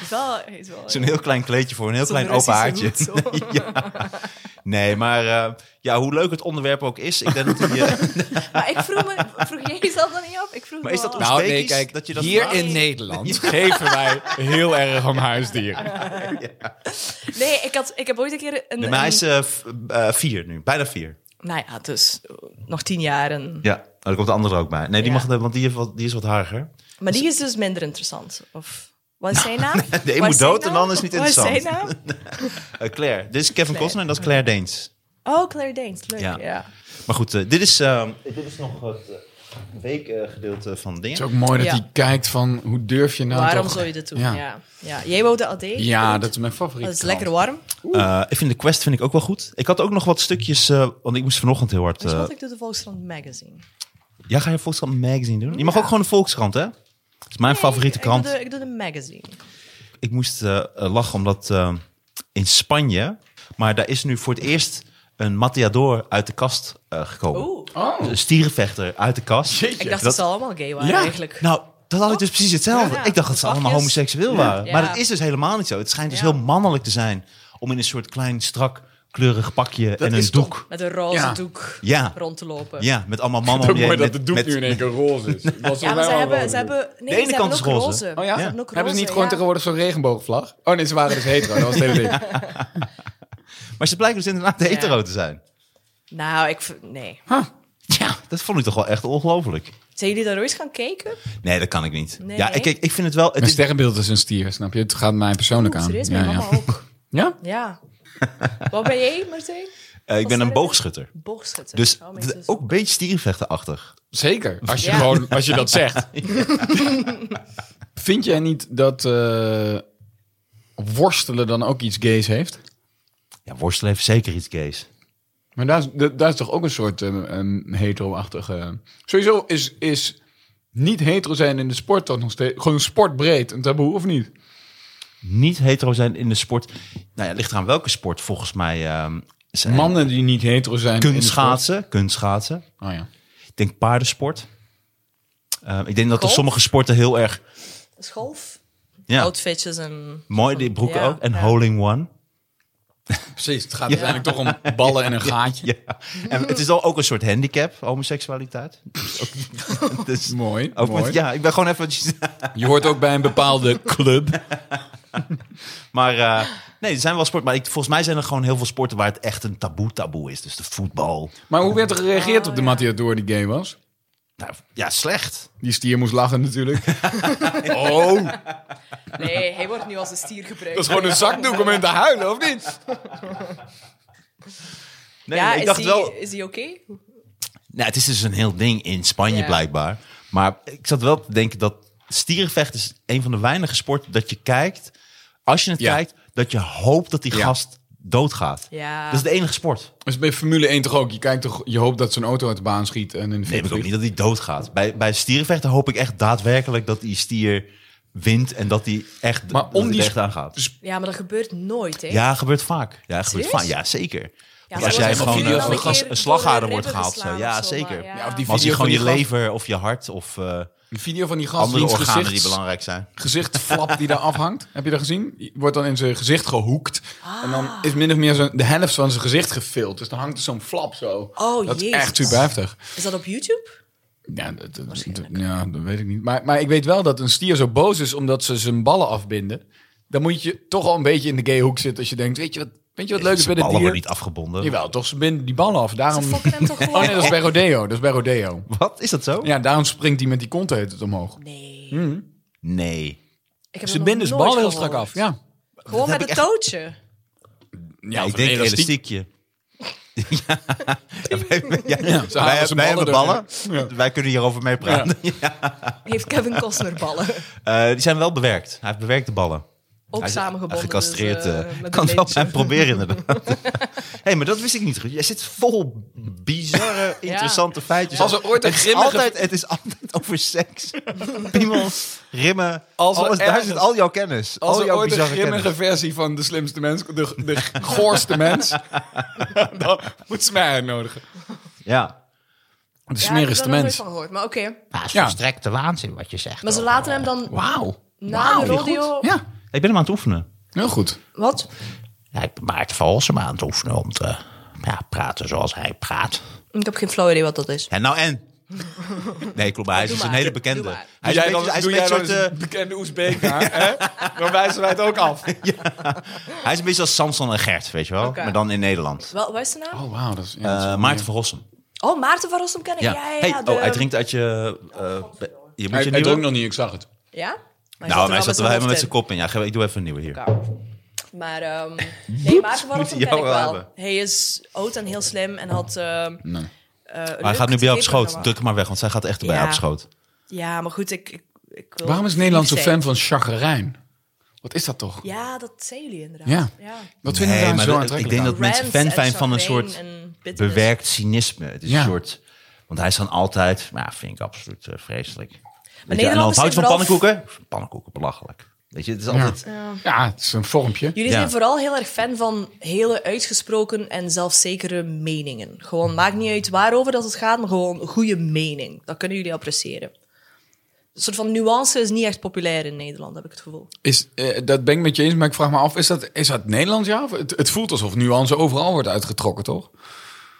Speaker 4: Is wel, is wel
Speaker 2: Zo'n heel klein kleedje voor een heel
Speaker 4: zo'n
Speaker 2: klein open
Speaker 4: Russische
Speaker 2: haartje.
Speaker 4: hoed, zo.
Speaker 2: Nee, maar eh, ja, hoe leuk het onderwerp ook is, ik denk dat hij... eh,
Speaker 4: Maar ik vroeg, me, vroeg jij jezelf dan niet af? Ik vroeg
Speaker 2: Maar
Speaker 4: me
Speaker 2: is dat
Speaker 4: wel af.
Speaker 3: Nou, nee,
Speaker 2: Oezbekisch,
Speaker 3: kijk,
Speaker 2: dat je dat
Speaker 3: hier
Speaker 2: vraagt?
Speaker 3: in Nederland geven wij heel erg om huisdieren.
Speaker 4: Nee, ik, had, ik heb ooit een keer een...
Speaker 2: nee, maar hij
Speaker 4: een-
Speaker 2: is eh, v- eh, vier nu, bijna vier.
Speaker 4: nou ja, dus eh, nog tien jaar. en-
Speaker 2: Ja, oh, daar komt de andere ook bij. Nee, die
Speaker 4: Ja.
Speaker 2: mag, want die, heeft wat, die is wat hariger.
Speaker 4: Maar die is dus minder interessant. Of, wat is zijn naam?
Speaker 2: Nou, de een
Speaker 4: Wat
Speaker 2: moet
Speaker 4: zijn
Speaker 2: dood en de
Speaker 4: naam?
Speaker 2: ander is niet
Speaker 4: Wat is
Speaker 2: interessant.
Speaker 4: zijn naam?
Speaker 2: Eh, Claire, dit is Kevin Costner en dat is Claire Deens.
Speaker 4: Oh, Claire Danes, leuk.
Speaker 2: Ja.
Speaker 4: Ja.
Speaker 2: Maar goed, eh, dit, is, eh, dit is nog het eh, weekgedeelte van dingen.
Speaker 3: Het is ook mooi dat
Speaker 4: Ja.
Speaker 3: hij kijkt van hoe durf je nou
Speaker 4: Waarom
Speaker 3: toch-
Speaker 4: zou je dit doen?
Speaker 3: Ja.
Speaker 4: Ja. Ja. Jij wou de AD?
Speaker 3: Ja, dat is mijn favoriet.
Speaker 4: Dat is lekker warm.
Speaker 2: Eh, ik vind de quest vind ik ook wel goed. Ik had ook nog wat stukjes, eh, want ik moest vanochtend heel hard...
Speaker 4: Weet je
Speaker 2: eh,
Speaker 4: wat, ik doe de Volkskrant magazine.
Speaker 2: ja, ga je Volkskrant Magazine doen? Je mag ook gewoon de Volkskrant, hè? Dat is mijn favoriete
Speaker 4: Nee, ik-
Speaker 2: krant.
Speaker 4: Ik doe, de, ik doe de magazine.
Speaker 2: ik moest eh, eh, lachen omdat eh, in Spanje, maar daar is nu voor het eerst een Matador uit de kast eh, gekomen.
Speaker 4: Oeh.
Speaker 3: Oh,
Speaker 2: Een stierenvechter uit de kast.
Speaker 4: Ik dacht dat ze allemaal gay waren
Speaker 3: Ja.
Speaker 4: eigenlijk.
Speaker 2: Nou, dat had ik dus precies hetzelfde.
Speaker 4: Oh. Ja.
Speaker 2: ik dacht dat ze allemaal
Speaker 4: Pakjes.
Speaker 2: homoseksueel waren.
Speaker 4: Ja.
Speaker 2: Maar dat is dus helemaal niet zo. Het schijnt dus
Speaker 4: Ja.
Speaker 2: heel mannelijk te zijn om in een soort klein, strak, kleurig pakje en een
Speaker 3: is toch-
Speaker 2: doek.
Speaker 4: Met een roze
Speaker 3: Ja.
Speaker 4: doek
Speaker 2: Ja.
Speaker 4: rond te lopen.
Speaker 2: Ja, met allemaal mannen
Speaker 3: Het
Speaker 2: om
Speaker 3: is
Speaker 2: je
Speaker 3: ook mooi
Speaker 2: heen. Met,
Speaker 3: dat de doek
Speaker 2: met-
Speaker 3: nu in één keer roze is. Dat was
Speaker 4: Ja, maar
Speaker 3: wel
Speaker 4: ze
Speaker 3: een
Speaker 4: hebben,
Speaker 3: roze
Speaker 4: ze
Speaker 3: doek.
Speaker 4: hebben... Nee,
Speaker 2: ene
Speaker 4: ze
Speaker 2: kant
Speaker 4: hebben
Speaker 2: is
Speaker 4: ook
Speaker 2: roze.
Speaker 4: roze.
Speaker 3: Oh ja?
Speaker 4: Ze hebben ook roze,
Speaker 3: Hebben ze niet gewoon
Speaker 4: ja.
Speaker 3: tegenwoordig zo'n regenboogvlag? Oh nee, ze waren dus hetero. Dat was het hele ding.
Speaker 2: Maar ze blijken dus inderdaad
Speaker 4: Ja.
Speaker 2: hetero te zijn.
Speaker 4: Nou, ik... v- Nee.
Speaker 2: Ja, dat vond ik toch wel echt ongelooflijk.
Speaker 4: Zijn jullie daar ooit gaan kijken?
Speaker 2: Nee, dat kan ik niet.
Speaker 4: Nee.
Speaker 2: Ja, ik, ik, ik vind het wel... Het
Speaker 3: Mijn
Speaker 2: is,
Speaker 3: sterrenbeeld is een stier, snap je? Het gaat mij persoonlijk
Speaker 4: Oeh,
Speaker 3: aan.
Speaker 4: serieus? Mijn
Speaker 3: ja,
Speaker 4: mama
Speaker 3: ja.
Speaker 4: ook.
Speaker 3: ja?
Speaker 4: Ja. Wat ben jij,
Speaker 2: eh,
Speaker 4: Martijn?
Speaker 2: ik ben een
Speaker 4: sterrenbeeld?
Speaker 2: boogschutter.
Speaker 4: Boogschutter.
Speaker 2: Dus
Speaker 4: Oh,
Speaker 2: d-
Speaker 4: mijn zus
Speaker 2: ook een beetje stierenvechterachtig.
Speaker 3: Zeker. Als je,
Speaker 4: Ja.
Speaker 3: gewoon, als je dat zegt. Vind jij niet dat eh, worstelen dan ook iets gays heeft?
Speaker 2: Ja, worstelen heeft zeker iets gays.
Speaker 3: Maar daar is, da- daar is toch ook een soort eh, een hetero-achtige... Sowieso is, is niet hetero zijn in de sport toch nog steeds... Gewoon sportbreed een taboe, of niet?
Speaker 2: Niet hetero zijn in de sport. Nou ja, ligt eraan welke sport volgens mij. ehm zijn
Speaker 3: Mannen die niet hetero zijn in de
Speaker 2: Kunstschaatsen. Kunstschaatsen.
Speaker 3: sport- Oh ja.
Speaker 2: Ik denk paardensport. Ehm, ik denk dat er
Speaker 4: Golf?
Speaker 2: sommige sporten heel erg...
Speaker 4: is golf.
Speaker 2: Ja,
Speaker 4: Outfitjes en...
Speaker 2: mooi, die broeken
Speaker 4: Ja,
Speaker 2: ook. En
Speaker 4: ja.
Speaker 2: hole-in-one.
Speaker 3: Precies, het gaat uiteindelijk toch om ballen en een gaatje.
Speaker 2: Ja. En het is al ook een soort handicap, homoseksualiteit. Dus ook- dus
Speaker 3: Mooi,
Speaker 2: ook
Speaker 3: mooi.
Speaker 2: met- ja, ik ben gewoon even...
Speaker 3: Je hoort ook bij een bepaalde club.
Speaker 2: Maar eh, nee, er zijn wel sporten. Maar ik, volgens mij zijn er gewoon heel veel sporten waar het echt een taboe-taboe is. Dus de voetbal.
Speaker 3: Maar hoe werd er gereageerd op de
Speaker 4: Oh, ja.
Speaker 3: Matador die gay was?
Speaker 2: Nou, ja, slecht.
Speaker 3: Die stier moest lachen natuurlijk. Oh, dat
Speaker 4: Nee, hij wordt nu als een stier gebruikt.
Speaker 3: is gewoon een zakdoek om in te huilen, of niet?
Speaker 2: Nee,
Speaker 4: ja,
Speaker 2: maar
Speaker 4: is
Speaker 2: ik dacht
Speaker 4: die,
Speaker 2: wel...
Speaker 4: Is die oké?
Speaker 2: Nou, het is dus een heel ding in Spanje
Speaker 4: Ja.
Speaker 2: blijkbaar. Maar ik zat wel te denken dat stierenvechten is een van de weinige sporten dat je kijkt. Als je het
Speaker 3: Ja.
Speaker 2: kijkt, dat je hoopt dat die
Speaker 3: Ja.
Speaker 2: gast doodgaat.
Speaker 4: Ja.
Speaker 2: Dat is de enige sport.
Speaker 3: Dus bij Formule 1 toch ook? Je, kijkt toch, je hoopt dat zo'n auto uit de baan schiet en in de
Speaker 2: Nee, ik
Speaker 3: fik
Speaker 2: ook
Speaker 3: vliegt.
Speaker 2: niet dat die doodgaat. Bij, bij stierenvechten hoop ik echt daadwerkelijk dat die stier wint en dat die echt,
Speaker 3: Maar
Speaker 2: dat
Speaker 3: om
Speaker 2: die
Speaker 3: die Dus,
Speaker 2: er
Speaker 3: sp-
Speaker 2: echt aangaat.
Speaker 4: Ja, maar dat gebeurt nooit, hè?
Speaker 2: Ja, gebeurt vaak. Ja, gebeurt
Speaker 4: Serieus?
Speaker 2: vaak. Ja, zeker. Want
Speaker 4: ze
Speaker 2: als
Speaker 4: wordt
Speaker 2: jij
Speaker 4: misschien
Speaker 2: gewoon
Speaker 3: wel
Speaker 2: eh, een,
Speaker 3: een
Speaker 4: keer
Speaker 2: glas-
Speaker 4: door
Speaker 2: een
Speaker 4: de
Speaker 2: slagharen
Speaker 4: ribben
Speaker 2: wordt gehaald.
Speaker 4: geslaan
Speaker 2: Zo. Ja,
Speaker 4: of zo, maar
Speaker 2: zeker.
Speaker 4: ja.
Speaker 3: Ja, of die
Speaker 2: Maar als je
Speaker 3: video van
Speaker 2: gewoon
Speaker 3: die
Speaker 2: je
Speaker 3: gast-
Speaker 2: lever of je hart of eh,
Speaker 3: Een video van die gast
Speaker 2: andere
Speaker 3: wiens
Speaker 2: organen die
Speaker 3: gezichts-
Speaker 2: belangrijk zijn.
Speaker 3: gezichtflap die daar afhangt. Heb je dat gezien? Die Wordt dan in zijn gezicht gehoekt. En dan
Speaker 4: Ah.
Speaker 3: is min of meer zo'n- de helft van zijn gezicht gefilmd. Dus dan hangt er zo'n flap zo.
Speaker 4: Oh,
Speaker 3: dat is
Speaker 4: jezus.
Speaker 3: echt super heftig.
Speaker 4: Is dat op YouTube?
Speaker 3: Ja dat, dat- dat- ja, dat weet ik niet. Maar, maar ik weet wel dat een stier zo boos is omdat ze zijn ballen afbinden. Dan moet je toch al een beetje in de gay hoek zitten als je denkt, weet je wat, weet je wat leuk is bij
Speaker 2: Zijn
Speaker 3: dit
Speaker 2: ballen worden
Speaker 3: dier?
Speaker 2: niet afgebonden.
Speaker 3: Jawel, toch, ze binden die ballen af.
Speaker 4: Ze
Speaker 3: Daarom...
Speaker 4: fokken hem toch gewoon
Speaker 3: Oh nee, dat is bij Rodeo. Dat is bij Rodeo.
Speaker 2: Wat? Is dat zo?
Speaker 3: Ja, daarom springt die met die kont heet het omhoog.
Speaker 4: Nee.
Speaker 3: Hmm.
Speaker 2: Nee.
Speaker 3: Ze
Speaker 4: Ik heb dat nog
Speaker 3: binden dus
Speaker 4: nooit
Speaker 3: ballen heel
Speaker 4: gehoord.
Speaker 3: strak af. Ja,
Speaker 4: Gewoon
Speaker 2: heb
Speaker 4: met een
Speaker 2: ik echt-
Speaker 4: touwtje.
Speaker 3: ja
Speaker 2: ik denk elastiekje. ja, wij, ja, wij,
Speaker 3: halen ze
Speaker 2: wij hebben ballen.
Speaker 3: ballen door.
Speaker 2: Wij kunnen hierover mee praten.
Speaker 4: Heeft Kevin Costner ballen.
Speaker 2: Eh, die zijn wel bewerkt. Hij heeft bewerkte ballen.
Speaker 4: Ook
Speaker 2: Hij is
Speaker 4: samengebonden.
Speaker 2: Gecastreerd.
Speaker 4: dus, eh,
Speaker 2: eh,
Speaker 4: met
Speaker 2: kan
Speaker 4: een
Speaker 2: wel
Speaker 4: lintje.
Speaker 2: zijn proberen, inderdaad. Hé, hey, maar dat wist ik niet. Ruud. Jij zit vol bizarre, interessante feitjes.
Speaker 3: Als er ooit een
Speaker 2: het, is
Speaker 3: grimmige-
Speaker 2: altijd, het is altijd over seks, piemels, rimmen.
Speaker 3: Als er
Speaker 2: alles, daar
Speaker 3: ergens-
Speaker 2: zit al jouw kennis.
Speaker 3: Als
Speaker 2: al
Speaker 3: er
Speaker 2: jouw
Speaker 3: ooit een
Speaker 2: bizarre
Speaker 3: grimmige
Speaker 2: kennis.
Speaker 3: versie van de slimste mens, de, de goorste mens, dan moet ze mij uitnodigen.
Speaker 2: Ja.
Speaker 3: De
Speaker 4: Ja, ik heb
Speaker 3: smerigste
Speaker 4: daar nog nooit
Speaker 3: mens.
Speaker 4: van gehoord, maar oké.
Speaker 2: Nou, Dat is
Speaker 3: Ja.
Speaker 2: verstrekte waanzin wat je zegt.
Speaker 4: Maar ze laten hem dan
Speaker 3: Wauw.
Speaker 4: na de rodeo...
Speaker 3: Ja,
Speaker 2: Ik ben hem aan het oefenen.
Speaker 3: heel goed.
Speaker 4: Wat?
Speaker 2: Ja, ik ben Maarten van Rossum aan het oefenen om te ja, praten zoals hij praat.
Speaker 4: Ik heb geen flauw idee wat dat is.
Speaker 2: En nou en? Nee, klopt. maar Hij
Speaker 4: Doe
Speaker 2: is een
Speaker 4: maar.
Speaker 2: hele
Speaker 4: Doe
Speaker 2: bekende.
Speaker 4: maar.
Speaker 2: Hij is
Speaker 3: Doe
Speaker 2: een
Speaker 3: jij
Speaker 2: beetje- hij is
Speaker 3: doe
Speaker 2: een beetje
Speaker 3: jij
Speaker 2: soort,
Speaker 3: dan eens
Speaker 2: eh,
Speaker 3: een bekende Oezbeek na, hè? Dan wijzen wij het ook af.
Speaker 2: Hij is een beetje als Samson en Gert, weet je wel.
Speaker 4: Oké.
Speaker 2: Maar dan in Nederland.
Speaker 4: Wel, wat is de naam?
Speaker 3: Oh, wauw. Dat is, ja, dat is-
Speaker 2: Eh Maarten van Rossum.
Speaker 4: Oh, Maarten van Rossum ken ik. Ja, ja, ja,
Speaker 2: Hey,
Speaker 4: de-
Speaker 2: Oh, hij drinkt uit je... eh, be- je moet
Speaker 3: Hij,
Speaker 2: je
Speaker 3: hij
Speaker 2: nieuwe...
Speaker 3: dronk nog niet, ik zag het.
Speaker 4: Ja? Maar
Speaker 2: nou, maar hij zat er wel helemaal met zijn
Speaker 4: hoofd in.
Speaker 2: kop in. Ja, ge- ik doe even een nieuwe hier.
Speaker 4: Maar, ehm, nee, Maarten van
Speaker 2: moet hij
Speaker 4: Rossum
Speaker 2: jou
Speaker 4: ken ik
Speaker 2: wel
Speaker 4: wel.
Speaker 2: hebben.
Speaker 4: Hij is oud en heel slim en had... ehm,
Speaker 3: Nee.
Speaker 4: eh, een
Speaker 2: Maar hij
Speaker 4: leuk
Speaker 2: gaat nu bij jou op schoot.
Speaker 4: tv-programma.
Speaker 2: Druk hem maar weg, want zij gaat echt erbij
Speaker 4: Ja.
Speaker 2: op schoot.
Speaker 4: Ja, maar goed, ik... ik, ik wil
Speaker 3: Waarom is Nederland zo
Speaker 4: lief zijn.
Speaker 3: fan van chagrijn? Wat is dat toch?
Speaker 4: Ja, dat zijn jullie inderdaad.
Speaker 3: Ja. Wat vinden we daar
Speaker 2: maar
Speaker 3: zo
Speaker 2: dat-
Speaker 3: aantrekkelijk
Speaker 2: ik denk dat
Speaker 3: aan?
Speaker 2: mensen
Speaker 4: Rants
Speaker 2: fan
Speaker 4: en
Speaker 2: zijn van een
Speaker 4: chagrijn
Speaker 2: soort
Speaker 4: en bitterness.
Speaker 2: bewerkt cynisme. Het is
Speaker 3: Ja.
Speaker 2: een soort... Want hij is dan altijd... Nou, vind ik absoluut eh, vreselijk. Weet je, en dan
Speaker 4: Nederlanders
Speaker 2: houdt van
Speaker 4: zijn vooral-
Speaker 2: pannenkoeken? Pannenkoeken, belachelijk. Weet je, het is altijd...
Speaker 3: Ja, het is een vormpje.
Speaker 4: Jullie
Speaker 2: Ja.
Speaker 4: zijn vooral heel erg fan van hele uitgesproken en zelfzekere meningen. Gewoon, maakt niet uit waarover dat het gaat, maar gewoon een goede mening. Dat kunnen jullie appreciëren. Een soort van nuance is niet echt populair in Nederland, heb ik het gevoel.
Speaker 3: Is, eh, dat ben ik met je eens, maar ik vraag me af, is dat, is dat Nederlands ja? Of Het, het voelt alsof nuance overal wordt uitgetrokken, toch?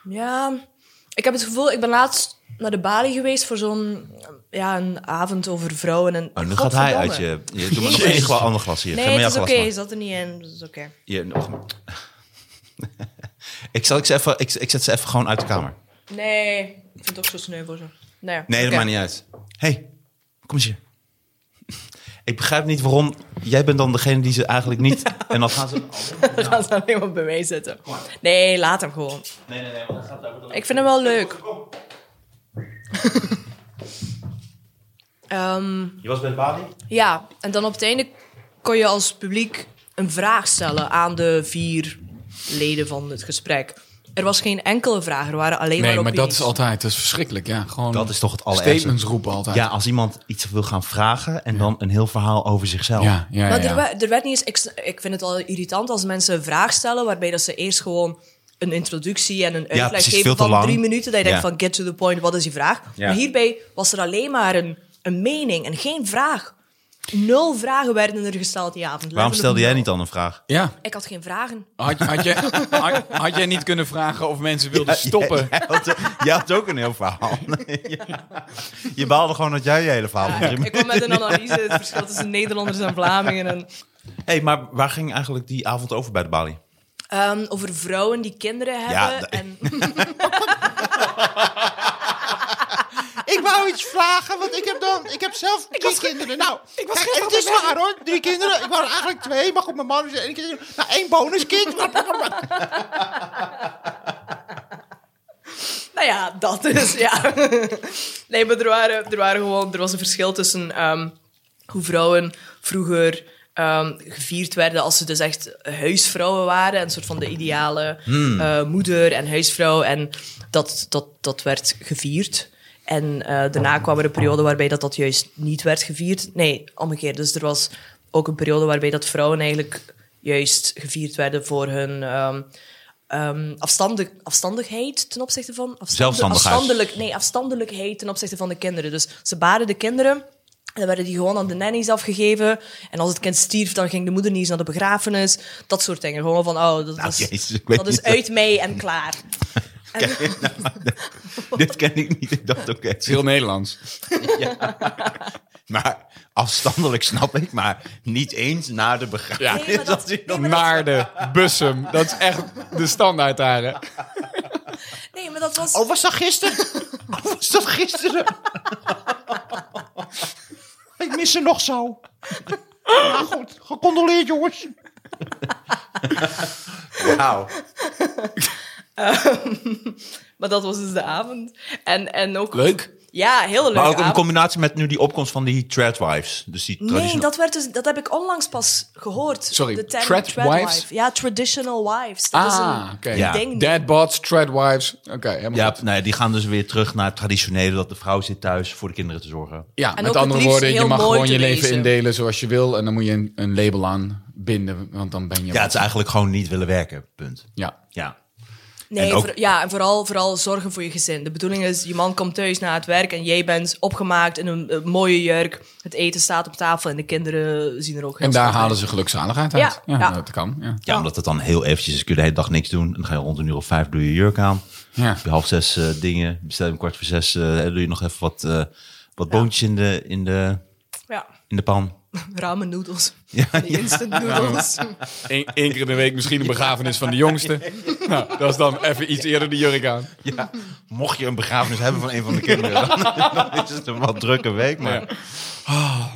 Speaker 4: Ja, ik heb het gevoel, ik ben laatst naar de Bali geweest voor zo'n ja, een avond over vrouwen. En,
Speaker 2: Oh, nu gaat hij uit je... je doe maar nog één gla- ander glas hier. Geef
Speaker 4: Nee,
Speaker 2: maar
Speaker 4: het
Speaker 2: jouw
Speaker 4: is
Speaker 2: glas
Speaker 4: oké,
Speaker 2: maar.
Speaker 4: zat er niet in, dat is oké.
Speaker 2: Hier, nog. ik, zal, ik, ze even, ik, ik zet ze even gewoon uit de kamer.
Speaker 4: Nee, ik vind het ook zo sneu voor ze. Nee,
Speaker 2: Nee, dat
Speaker 4: oké.
Speaker 2: maakt niet uit. Hé, hey, kom eens hier. ik begrijp niet waarom... Jij bent dan degene die ze eigenlijk niet... En dan gaan ze...
Speaker 4: Dan gaan ze alleen maar bij mij zitten. Nee, laat hem gewoon.
Speaker 2: Nee, nee, nee. Want dat gaat over
Speaker 4: Ik vind hem wel leuk. Ehm,
Speaker 2: Je was bij Bali?
Speaker 4: ja, en dan op het einde kon je als publiek een vraag stellen aan de vier leden van het gesprek. Er was geen enkele vraag, er waren alleen
Speaker 3: Nee,
Speaker 4: maar
Speaker 3: maar
Speaker 4: opinies.
Speaker 3: dat is altijd, dat is verschrikkelijk, ja. Gewoon
Speaker 2: Dat is toch het allerergste.
Speaker 3: Statements roepen altijd.
Speaker 2: Ja, als iemand iets wil gaan vragen... en dan een heel verhaal over zichzelf.
Speaker 3: ja, ja. ja,
Speaker 4: Maar er,
Speaker 3: ja.
Speaker 4: we- er werd niet eens. Ik, ik vind het al irritant als mensen een vraag stellen waarbij dat ze eerst gewoon een introductie en een uitleg
Speaker 2: precies, veel
Speaker 4: geven
Speaker 2: te
Speaker 4: van
Speaker 2: lang.
Speaker 4: drie minuten. Dat je
Speaker 2: Ja.
Speaker 4: denkt van get to the point, wat is je vraag?
Speaker 2: Ja.
Speaker 4: Maar hierbij was er alleen maar een, een mening en geen vraag. Nul vragen werden er gesteld die avond.
Speaker 2: Waarom
Speaker 4: Letterlijk
Speaker 2: stelde jij
Speaker 4: nul.
Speaker 2: niet dan een vraag?
Speaker 3: Ja.
Speaker 4: Ik had geen vragen.
Speaker 3: Had, je- had, je, had, had jij niet kunnen vragen of mensen wilden stoppen?
Speaker 2: Jij, jij had, jij had ook een heel verhaal. Ja. Je baalde gewoon dat jij je hele verhaal...
Speaker 4: Ja, ik kwam met een analyse het verschil tussen Nederlanders en Vlamingen. En,
Speaker 2: hey, maar waar ging eigenlijk die avond over bij de Bali?
Speaker 4: Ehm, over vrouwen die kinderen hebben.
Speaker 2: dat-
Speaker 4: en,
Speaker 2: Ik wou iets vragen, want ik heb dan... Ik heb zelf drie kinderen. Nou, kijk, het is waar hoor. Drie kinderen. Ik wou er eigenlijk twee, maar goed, mijn man is één kind. Nou, één bonuskind.
Speaker 4: Nou ja, dat is, ja. Nee, maar er, waren, er, waren gewoon, er was een verschil tussen ehm, hoe vrouwen vroeger ehm, gevierd werden als ze dus echt huisvrouwen waren. Een soort van de ideale eh, moeder en huisvrouw. En dat, dat, dat werd gevierd. En eh, daarna kwam er een periode waarbij dat, dat juist niet werd gevierd. Nee, omgekeerd. Dus er was ook een periode waarbij dat vrouwen eigenlijk juist gevierd werden voor hun... ehm, ehm, afstandig, afstandigheid ten opzichte van... afstande-
Speaker 2: Zelfstandigheid.
Speaker 4: afstandelijk- nee, afstandelijkheid ten opzichte van de kinderen. Dus ze baden de kinderen. En dan werden die gewoon aan de nannies afgegeven. En als het kind stierf, dan ging de moeder niet eens naar de begrafenis. Dat soort dingen. Gewoon van, oh, dat, is,
Speaker 2: Nou, jezus, ik weet
Speaker 4: dat is
Speaker 2: niet of-
Speaker 4: uit mij en klaar.
Speaker 2: nou, Dit ken ik niet. Ik dacht, oké.
Speaker 3: Het is heel Nederlands.
Speaker 2: Maar afstandelijk snap ik, maar niet eens na de
Speaker 3: Ja.
Speaker 2: begrafenis.
Speaker 4: Nee, maar dat-
Speaker 2: als ik
Speaker 4: nee,
Speaker 2: dan-
Speaker 4: maar dat-
Speaker 3: Naarden, Bussum, dat is echt de standaard daar. hè?
Speaker 4: Nee, maar dat was...
Speaker 2: Oh, was dat gisteren? Oh, was dat gisteren? ik mis ze nog zo. Nou goed, gecondoleerd jongens. Wauw.
Speaker 4: Maar dat was dus de avond. En, en ook
Speaker 3: Leuk.
Speaker 4: Ja, heel leuk.
Speaker 2: Maar ook in combinatie met nu die opkomst van die tradwives. Dus die
Speaker 4: Nee,
Speaker 2: traditione-
Speaker 4: dat, werd dus, dat heb ik onlangs pas gehoord.
Speaker 3: Sorry,
Speaker 4: de term
Speaker 3: trad wives?
Speaker 4: wife. Ja, traditional wives. Dat is
Speaker 3: Ah,
Speaker 4: een
Speaker 3: oké.
Speaker 2: Ja.
Speaker 4: ding.
Speaker 3: Deadbots, Treadwives. Oké, helemaal
Speaker 2: Ja,
Speaker 3: goed.
Speaker 2: nee, die gaan dus weer terug naar het traditionele dat de vrouw zit thuis voor de kinderen te zorgen.
Speaker 3: Ja,
Speaker 4: En
Speaker 3: met
Speaker 4: ook het
Speaker 3: andere
Speaker 4: liefst
Speaker 3: woorden, je
Speaker 4: heel
Speaker 3: mag
Speaker 4: mooi
Speaker 3: gewoon
Speaker 4: te
Speaker 3: je leven
Speaker 4: lezen.
Speaker 3: indelen zoals je wil. En dan moet je een, een label aan binden, want dan ben je...
Speaker 2: Ja, het is eigenlijk gewoon niet willen werken. Punt.
Speaker 3: ja.
Speaker 2: Ja.
Speaker 4: Nee,
Speaker 2: En ook-
Speaker 4: voor- ja, en vooral, vooral zorgen voor je gezin. De bedoeling is, je man komt thuis na het werk en jij bent opgemaakt in een, eh, mooie jurk. Het eten staat op tafel en de kinderen zien er ook heel
Speaker 3: En daar
Speaker 4: schattig
Speaker 3: halen
Speaker 4: uit.
Speaker 3: ze gelukzaligheid
Speaker 4: Ja,
Speaker 3: uit. Ja,
Speaker 4: ja.
Speaker 3: dat kan. Ja.
Speaker 2: Ja, omdat het dan heel eventjes, dus kun je de hele dag niks doen. En dan ga je rond een uur of vijf, doe je jurk aan.
Speaker 3: Ja.
Speaker 2: Heb je half zes eh, dingen, bestel je om kwart voor zes, eh, doe je nog even wat, eh, wat boontjes in de, in, de,
Speaker 4: Ja,
Speaker 2: in de pan.
Speaker 4: ramen noedels.
Speaker 2: Ja,
Speaker 4: Die Instant noedels.
Speaker 3: Eén één keer in de week misschien een begrafenis van de jongste. Nou, dat is dan even iets eerder de jurk aan.
Speaker 2: Ja, mocht je een begrafenis hebben van een van de kinderen, dan, dan is het een wat drukke week. Maar
Speaker 3: Ja.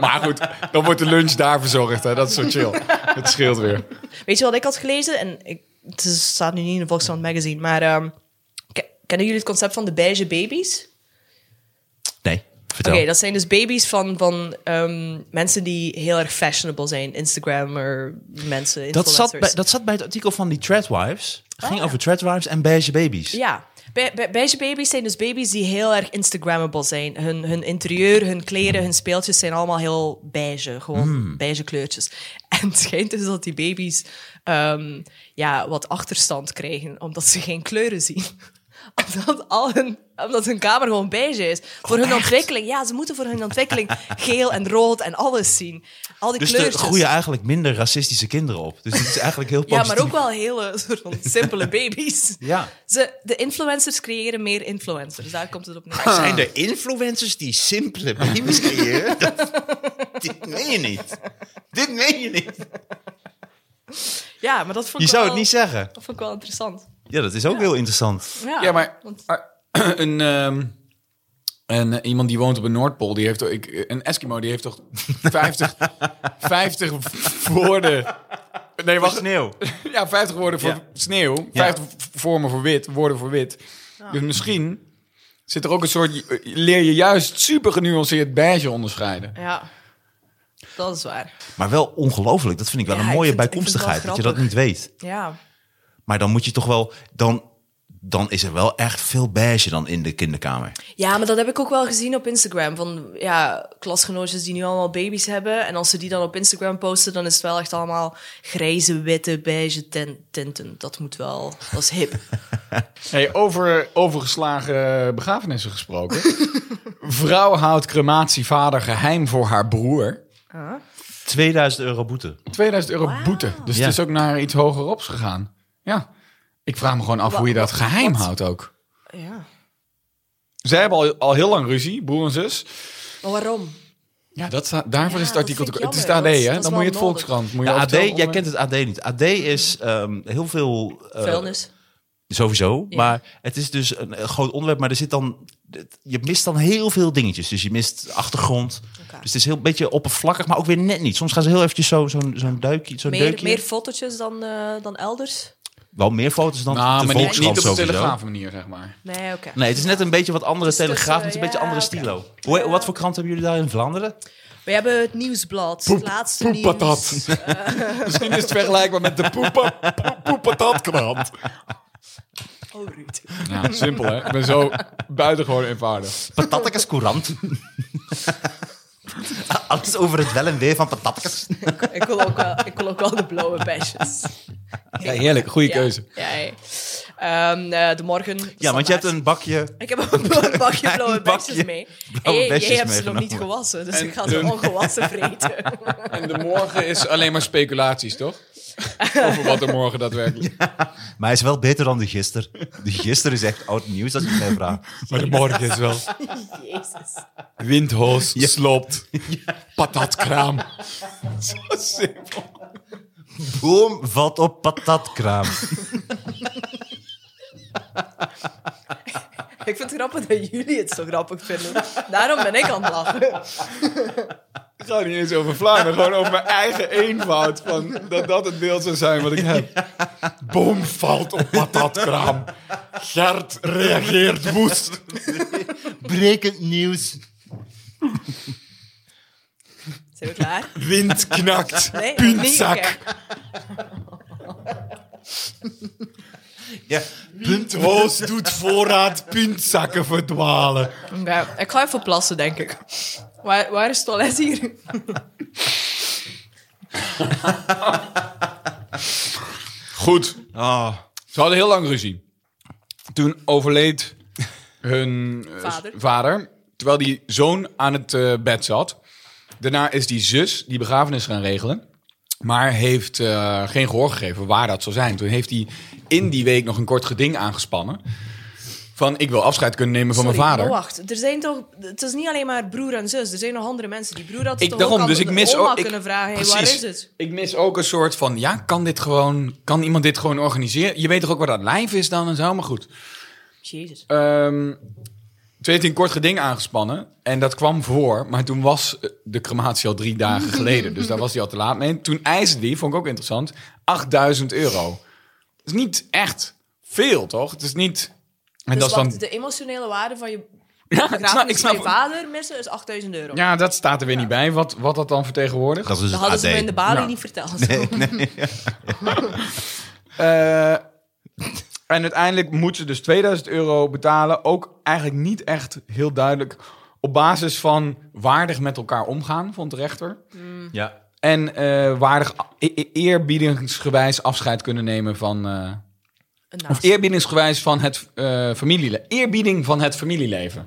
Speaker 3: Maar goed, dan wordt de lunch daar verzorgd. Hè. Dat is zo chill. Het scheelt weer.
Speaker 4: Weet je wat ik had gelezen? En ik, het is- staat nu niet in de Volkskrant magazine, maar ehm, ke- kennen jullie het concept van de beige baby's?
Speaker 2: nee, vertel.
Speaker 4: Oké, dat zijn dus baby's van, van ehm, mensen die heel erg fashionable zijn. Instagrammer, mensen,
Speaker 2: dat,
Speaker 4: influencers.
Speaker 2: zat bij, dat zat bij het artikel van die Tradwives. Het ging over Tradwives en beige baby's.
Speaker 4: Oh, Ja. Be- be- Beige baby's zijn dus baby's die heel erg Instagrammable zijn. Hun, hun interieur, hun kleren, hun speeltjes zijn allemaal heel beige. Gewoon beige kleurtjes. En het schijnt dus dat die baby's ehm, ja, wat achterstand krijgen omdat ze geen kleuren zien. Omdat, al hun, omdat hun kamer gewoon beige is. Voor hun ontwikkeling. Ja, ze moeten voor hun ontwikkeling geel en rood en alles zien. Al die
Speaker 2: Dus er
Speaker 4: kleurtjes.
Speaker 2: groeien eigenlijk minder racistische kinderen op. Dus het is eigenlijk heel
Speaker 4: Ja,
Speaker 2: positief.
Speaker 4: maar ook wel hele soort van simpele baby's.
Speaker 2: Ja.
Speaker 4: Ze, de influencers creëren meer influencers. Daar komt het op neer.
Speaker 2: Zijn er influencers die simpele baby's creëren? dit meen je niet. Dit meen je niet.
Speaker 4: Ja, maar dat vond
Speaker 2: Je
Speaker 4: ik
Speaker 2: zou
Speaker 4: wel,
Speaker 2: het niet zeggen.
Speaker 4: Dat vond ik wel interessant.
Speaker 2: Ja, dat is ook heel interessant.
Speaker 4: Ja,
Speaker 3: Ja, maar
Speaker 4: want-
Speaker 3: ah, een, ehm, een, eh, iemand die woont op de Noordpool, die heeft toch- ik, eh, een Eskimo, die heeft toch 50, 50 woorden. Nee, wacht.
Speaker 2: Sneeuw.
Speaker 3: Ja, 50 woorden voor
Speaker 2: Ja.
Speaker 3: sneeuw, 50 v- vormen voor wit, woorden voor wit. Dus misschien zit er ook een soort. leer je juist super genuanceerd beige onderscheiden.
Speaker 4: ja, dat is waar.
Speaker 2: Maar wel ongelooflijk. Dat vind ik wel
Speaker 4: Ja,
Speaker 2: een
Speaker 4: ik
Speaker 2: mooie
Speaker 4: vind- ik vind het wel
Speaker 2: bijkomstigheid. Dat je dat niet
Speaker 4: grappig.
Speaker 2: weet.
Speaker 4: Ja.
Speaker 2: Maar dan moet je toch wel. Dan, dan is er wel echt veel beige dan in de kinderkamer.
Speaker 4: ja, maar dat heb ik ook wel gezien op Instagram. Van ja, klasgenootjes die nu allemaal baby's hebben. En als ze die dan op Instagram posten, dan is het wel echt allemaal grijze, witte, beige ten- tinten. Dat moet wel, dat is hip.
Speaker 3: Hey, over overgeslagen begrafenissen gesproken. Vrouw houdt crematievader geheim voor haar broer.
Speaker 2: 2000 euro boete.
Speaker 3: 2000 euro boete. Dus
Speaker 2: Ja.
Speaker 3: het is ook naar iets hogerops gegaan. Ja. Ik vraag me gewoon af
Speaker 4: Wa-
Speaker 3: hoe je dat
Speaker 4: wat-
Speaker 3: geheim
Speaker 4: wat?
Speaker 3: houdt ook.
Speaker 4: Ja.
Speaker 3: Zij hebben al, al heel lang ruzie, broer en zus.
Speaker 4: Maar waarom?
Speaker 3: Ja, dat sta- daarvoor
Speaker 4: Ja,
Speaker 3: is het artikel...
Speaker 4: dat
Speaker 3: te-
Speaker 4: vind ik
Speaker 3: Het is het AD,
Speaker 4: jammer. Dat is-
Speaker 3: hè?
Speaker 4: dat is
Speaker 3: Dan
Speaker 4: wel
Speaker 3: moet je het
Speaker 4: nodig.
Speaker 3: Volkskrant... Moet je
Speaker 2: Ja, AD,
Speaker 3: overtuigen om-
Speaker 2: jij kent het AD niet. AD is ehm, heel veel. eh,
Speaker 4: Vuilnis.
Speaker 2: Sowieso.
Speaker 4: Ja.
Speaker 2: Maar het is dus een, een groot onderwerp. Maar er zit dan. het- Je mist dan heel veel dingetjes. Dus je mist achtergrond.
Speaker 4: Oké.
Speaker 2: Dus het is heel een beetje oppervlakkig, maar ook weer net niet. Soms gaan ze heel eventjes zo, zo'n zo'n duikje, zo'n
Speaker 4: Meer,
Speaker 2: deukje.
Speaker 4: meer fotootjes dan, eh, dan elders?
Speaker 2: Wel meer foto's dan
Speaker 3: Nou,
Speaker 2: de
Speaker 3: maar niet, niet
Speaker 2: Volkskrant
Speaker 3: op de
Speaker 2: sowieso.
Speaker 3: telegraaf manier, zeg maar.
Speaker 4: Nee, oké.
Speaker 2: Nee, het is net een beetje wat andere
Speaker 4: Het is
Speaker 2: telegraaf. Het is
Speaker 4: tussen-
Speaker 2: een beetje
Speaker 4: ja,
Speaker 2: andere
Speaker 4: oké.
Speaker 2: stilo. Hoe,
Speaker 4: Ja.
Speaker 2: Wat voor krant hebben jullie daar in Vlaanderen?
Speaker 4: We hebben het nieuwsblad, het laatste
Speaker 3: poepatat.
Speaker 4: nieuws.
Speaker 3: Misschien is het dus vergelijkbaar met de poepa, poe- poepatatkant.
Speaker 4: Oh, Ruud.
Speaker 3: Ja, simpel, hè? Ik ben zo buitengewoon eenvoudig.
Speaker 2: Patatkas Courant. Alles over het wel en weer van patatkas.
Speaker 4: Ik wil ook wel, ik wil ook wel de blauwe besjes.
Speaker 3: Ja, heerlijk. Goede keuze.
Speaker 4: Ja, ja, ja. Ehm, eh, de morgen. de
Speaker 2: Ja, want je hebt
Speaker 4: standaard.
Speaker 2: een bakje.
Speaker 4: Ik heb ook een bakje blauwe
Speaker 2: Een bakje
Speaker 4: besjes mee.
Speaker 2: blauwe
Speaker 4: Hey,
Speaker 2: besjes
Speaker 4: jij hebt ze nog niet
Speaker 2: meegenomen.
Speaker 4: gewassen, dus
Speaker 3: En
Speaker 4: ik ga ze
Speaker 3: dun.
Speaker 4: ongewassen vreten.
Speaker 3: En de morgen is alleen maar speculaties, toch? Over wat er morgen daadwerkelijk...
Speaker 2: Maar hij is wel beter dan de gister. De gister is echt oud nieuws, dat is mij vraag.
Speaker 3: Maar de morgen is wel...
Speaker 4: Jezus.
Speaker 3: Windhoos, sloopt, patatkraam.
Speaker 2: Boom valt op patatkraam.
Speaker 4: Ik vind het grappig dat jullie het zo grappig vinden. Daarom ben ik aan het lachen.
Speaker 3: Het gaat niet eens over Vlaanderen, gewoon over mijn eigen eenvoud. Van dat dat het beeld zou zijn wat ik heb. Boom valt op patatkraam. Gert reageert woest.
Speaker 5: Brekend nieuws.
Speaker 4: Zijn we klaar?
Speaker 6: Wind knakt.
Speaker 4: Nee,
Speaker 6: puntzak.
Speaker 4: nee, oké.
Speaker 5: Ja, punt.
Speaker 6: Hoos doet voorraad puntzakken verdwalen.
Speaker 4: Oké, Ik ga even plassen, denk ik. Waar, waar is het toilet hier?
Speaker 3: Goed.
Speaker 2: Ah.
Speaker 5: Oh,
Speaker 3: Ze hadden heel lang ruzie. Toen overleed hun eh,
Speaker 4: Vader.
Speaker 3: s- vader, terwijl die zoon aan het eh, bed zat. Daarna is die zus die begrafenis gaan regelen, maar heeft eh, geen gehoor gegeven waar dat zou zijn. Toen heeft hij in die week nog een kort geding aangespannen van ik wil afscheid kunnen nemen van mijn
Speaker 4: Sorry,
Speaker 3: vader.
Speaker 4: maar wacht, er zijn toch, het is niet alleen maar broer en zus. Er zijn nog andere mensen. Die broer had
Speaker 3: Ik
Speaker 4: toch
Speaker 3: daarom,
Speaker 4: ook aan
Speaker 3: dus ik
Speaker 4: de
Speaker 3: mis
Speaker 4: oma
Speaker 3: ook. Ik,
Speaker 4: kunnen vragen, hey,
Speaker 3: precies.
Speaker 4: waar is het?
Speaker 3: Ik mis ook een soort van, ja, kan dit gewoon, kan iemand dit gewoon organiseren? Je weet toch ook waar dat lijf is dan en zo, maar goed.
Speaker 4: Jezus.
Speaker 3: Ehm toen heeft hij een kort geding aangespannen. En dat kwam voor, maar toen was eh, de crematie al drie dagen geleden. Dus daar was hij al te laat mee. Toen eiste die, vond ik ook interessant, 8000 euro. Dat is niet echt veel, toch? Het is niet... En
Speaker 4: Dus
Speaker 3: dat is
Speaker 4: wacht,
Speaker 3: dan-
Speaker 4: de emotionele waarde van je
Speaker 3: Ja, ik snap- ik
Speaker 4: begrafenis van je
Speaker 3: snap-
Speaker 4: vader missen is 8000 euro.
Speaker 3: ja, dat staat er weer niet bij, wat, wat dat dan vertegenwoordigt.
Speaker 5: dat is dus
Speaker 4: Dat
Speaker 5: het
Speaker 4: hadden
Speaker 5: AD.
Speaker 4: ze me in de balie
Speaker 3: Nou.
Speaker 4: niet verteld.
Speaker 3: Eh, en uiteindelijk moet ze dus 2000 euro betalen. Ook eigenlijk niet echt heel duidelijk. Op basis van waardig met elkaar omgaan, vond de rechter.
Speaker 4: Mm.
Speaker 6: Ja.
Speaker 3: En eh, waardig e- e- eerbiedingsgewijs afscheid kunnen nemen van. eh,
Speaker 4: Een
Speaker 3: of
Speaker 4: naast.
Speaker 3: eerbiedingsgewijs van het eh familieleven. Eerbieding van het familieleven.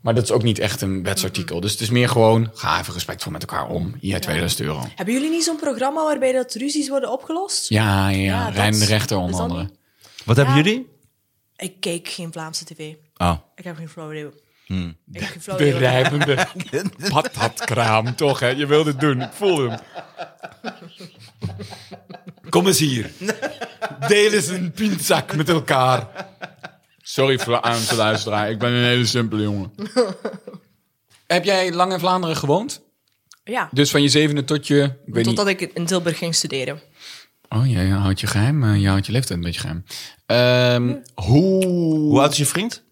Speaker 3: Maar dat is ook niet echt een wetsartikel. Dus het is meer gewoon. Ga even respectvol met elkaar om. Hier 2000 euro.
Speaker 4: Hebben jullie niet zo'n programma waarbij dat ruzies worden opgelost?
Speaker 3: Ja, ja,
Speaker 4: Ja, dat
Speaker 3: Rijn de
Speaker 4: is-
Speaker 3: rechter
Speaker 4: is
Speaker 3: onder
Speaker 4: dat
Speaker 3: andere.
Speaker 4: niet-
Speaker 5: Wat hebben jullie?
Speaker 4: Ik keek geen Vlaamse tv.
Speaker 2: Ah.
Speaker 5: Oh.
Speaker 4: Ik heb geen flauw idee.
Speaker 3: Hmm.
Speaker 4: Ik heb geen flauw
Speaker 3: De
Speaker 4: idee. wat-
Speaker 3: rijpende patatkraam, toch? Hè? Je wilde het doen. Ik voelde hem.
Speaker 6: Kom eens hier.
Speaker 3: Deel eens een pinzak met elkaar. Sorry voor de Vlaamse luisteraar. Ik ben een hele simpele jongen. Heb jij lang in Vlaanderen gewoond?
Speaker 4: Ja,
Speaker 3: Dus van je zevende tot je... Ik weet
Speaker 4: totdat ik in Tilburg ging studeren.
Speaker 3: niet. Oh, jij houdt je geheim. eh, Je houdt je leeftijd een beetje geheim. Ehm, hoe...
Speaker 5: Hoe oud is je vriend?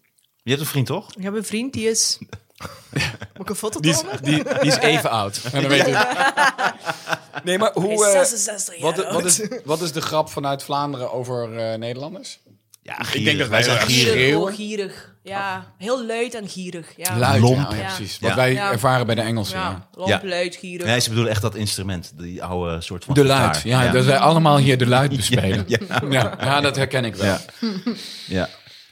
Speaker 5: Je hebt een vriend, toch?
Speaker 4: Ik heb een vriend die is... Moet ik een foto
Speaker 3: Die is,
Speaker 4: tonen?
Speaker 3: die, die is even oud. Maar dan weet ik- Nee, maar hoe...
Speaker 4: Hij
Speaker 3: eh,
Speaker 4: is 66 jaar
Speaker 3: wat, wat,
Speaker 4: oud.
Speaker 3: is, wat is de grap vanuit Vlaanderen over eh, Nederlanders?
Speaker 5: Ja, gierig.
Speaker 3: denk dat wij
Speaker 5: zijn
Speaker 3: wel-
Speaker 5: gierig.
Speaker 4: Gierig,
Speaker 3: Schreeuwen?
Speaker 4: oh, gierig. Ja, heel luid en gierig. Ja,
Speaker 3: Luid,
Speaker 5: Lomp.
Speaker 3: ja, oh ja,
Speaker 4: Ja.
Speaker 3: precies. Wat
Speaker 5: Ja.
Speaker 3: wij
Speaker 4: Ja.
Speaker 3: ervaren bij de Engelsen.
Speaker 4: ja
Speaker 3: Ja.
Speaker 4: lomp,
Speaker 5: Ja.
Speaker 4: luid, gierig.
Speaker 5: Nee, ze bedoelen echt dat instrument. Die oude soort van
Speaker 3: De
Speaker 5: gitaar.
Speaker 3: luid, ja,
Speaker 5: ja.
Speaker 3: Dat wij allemaal hier de luid bespelen. Ja, ja. dat herken ik wel.
Speaker 5: Ja. Ja.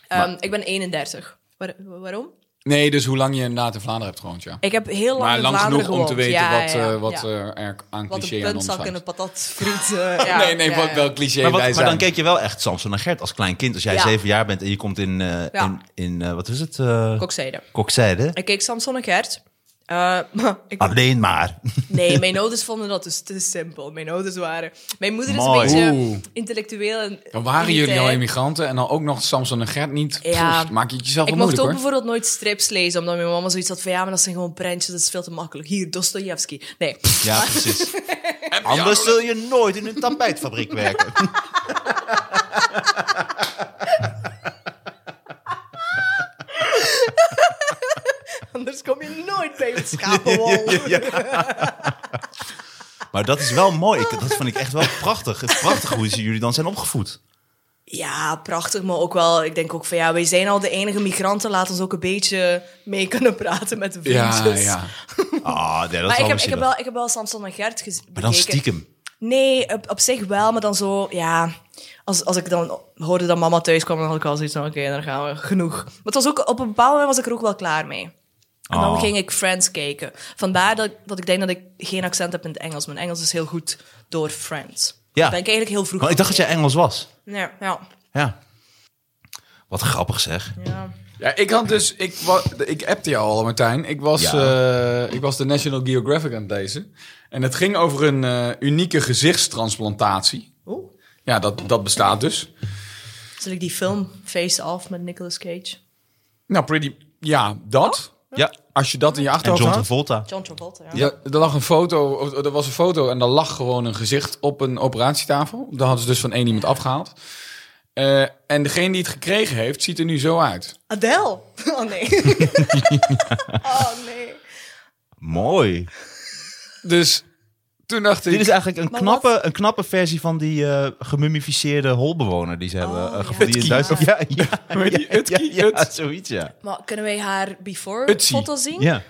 Speaker 4: Ehm, ik ben 31. Waar- waarom?
Speaker 3: Nee, dus hoe lang je inderdaad in Vlaanderen hebt gewoond, ja.
Speaker 4: Ik heb heel lang
Speaker 3: Maar
Speaker 4: in
Speaker 3: lang
Speaker 4: Vlaanderen
Speaker 3: genoeg om te
Speaker 4: gewoond.
Speaker 3: weten
Speaker 4: Ja,
Speaker 3: wat,
Speaker 4: ja, ja,
Speaker 3: eh, wat
Speaker 4: ja.
Speaker 3: eh, er aan
Speaker 4: Wat
Speaker 3: cliché
Speaker 4: een
Speaker 3: aan ons
Speaker 4: puntzak en
Speaker 3: hangt.
Speaker 4: een patatfriet. eh, ja,
Speaker 3: nee, nee,
Speaker 4: ja,
Speaker 3: wat
Speaker 4: ja.
Speaker 3: wel cliché
Speaker 5: Maar, wat-
Speaker 3: wij
Speaker 5: maar
Speaker 3: zijn.
Speaker 5: dan keek je wel echt Samson en Gert als klein kind. Als jij
Speaker 4: Ja.
Speaker 5: zeven jaar bent en je komt in, eh,
Speaker 4: Ja.
Speaker 5: in, in eh, wat is het? eh
Speaker 4: Kokzijde.
Speaker 5: Kokzijde.
Speaker 4: Ik keek Samson en Gert. Eh, ik-
Speaker 5: Alleen maar.
Speaker 4: nee, mijn ouders vonden dat dus te simpel. Mijn ouders waren... Mijn moeder is
Speaker 5: Mooi.
Speaker 4: een beetje
Speaker 3: Oeh.
Speaker 4: intellectueel. En eh,
Speaker 3: Dan waren jullie al
Speaker 4: elitair.
Speaker 3: immigranten en dan ook nog Samson en Gert niet.
Speaker 4: Ja.
Speaker 3: Pff, maak je het jezelf
Speaker 4: Ik
Speaker 3: wel
Speaker 4: mocht
Speaker 3: moeilijk,
Speaker 4: ook
Speaker 3: hoor.
Speaker 4: bijvoorbeeld nooit strips lezen, omdat mijn mama zoiets had van... Ja, maar dat zijn gewoon prentjes, dat is veel te makkelijk. Hier, Dostojevski. Nee.
Speaker 5: Ja, precies. Anders zul je nooit in een tapijtfabriek werken.
Speaker 4: Anders kom je nooit bij het schapenwol.
Speaker 5: Maar dat is wel mooi. Ik, dat vond ik echt wel prachtig. Het is prachtig hoe ze jullie dan zijn opgevoed.
Speaker 4: Ja, prachtig, maar ook wel... Ik denk ook van, ja, wij zijn al de enige migranten. Laat ons ook een beetje mee kunnen praten met de vriendjes.
Speaker 3: Ja, ja.
Speaker 5: Ah, nee, dat is wel
Speaker 4: Maar ik heb, ik,
Speaker 5: zielig.
Speaker 4: heb wel, ik heb wel Samson en Gert gezien.
Speaker 5: Maar dan stiekem.
Speaker 4: Nee, op, op zich wel, maar dan zo, ja... Als, als ik dan hoorde dat mama thuis kwam, dan had ik al zoiets van, oké, dan gaan we, genoeg. Maar het was ook, op een bepaald moment was ik er ook wel klaar mee. En dan
Speaker 5: Oh.
Speaker 4: ging ik Friends kijken. Vandaar dat, ik- dat ik denk dat ik geen accent heb in het Engels. Mijn Engels is heel goed door Friends.
Speaker 5: Ja.
Speaker 4: Daar ben ik eigenlijk heel vroeg
Speaker 5: Want ik dacht
Speaker 4: aan
Speaker 5: dat jij Engels was.
Speaker 4: begonnen. Nee, ja.
Speaker 5: Ja. Wat grappig zeg.
Speaker 4: ja.
Speaker 3: Ja, ik had dus... Ik, wa- ik appte jou al, Martijn. Ik was, eh, ik was de National Geographic aan het lezen. En het ging over een eh, unieke gezichtstransplantatie.
Speaker 4: Oeh.
Speaker 3: Ja, dat, dat bestaat dus.
Speaker 4: Zal ik die film Face Off met Nicolas Cage?
Speaker 3: Nou, pretty... Ja,
Speaker 4: Oh.
Speaker 3: dat.
Speaker 5: Ja.
Speaker 3: Als je dat in je
Speaker 5: En
Speaker 3: achterhoofd
Speaker 5: John
Speaker 3: houdt.
Speaker 5: Travolta.
Speaker 4: John Travolta, ja.
Speaker 3: Ja, er lag een foto, of er was een foto en daar lag gewoon een gezicht op een operatietafel. Daar hadden ze dus van één iemand afgehaald. Eh, en degene die het gekregen heeft, ziet er nu zo uit.
Speaker 4: Adele. Oh nee. oh nee.
Speaker 2: Mooi.
Speaker 3: Dus toen dacht ik...
Speaker 2: Dit is eigenlijk een
Speaker 4: Maar
Speaker 2: knappe, een knappe versie van die eh gemummificeerde holbewoner die ze
Speaker 3: Oh,
Speaker 2: hebben eh, gevonden die in
Speaker 3: Utki.
Speaker 2: Duitsland. Ja, ja,
Speaker 3: Hoe heet die?
Speaker 2: ja,
Speaker 3: Utki?
Speaker 2: ja,
Speaker 3: Ut-
Speaker 2: zoiets, ja.
Speaker 4: Maar kunnen wij haar before
Speaker 3: Utsie.
Speaker 4: foto zien?
Speaker 2: ja.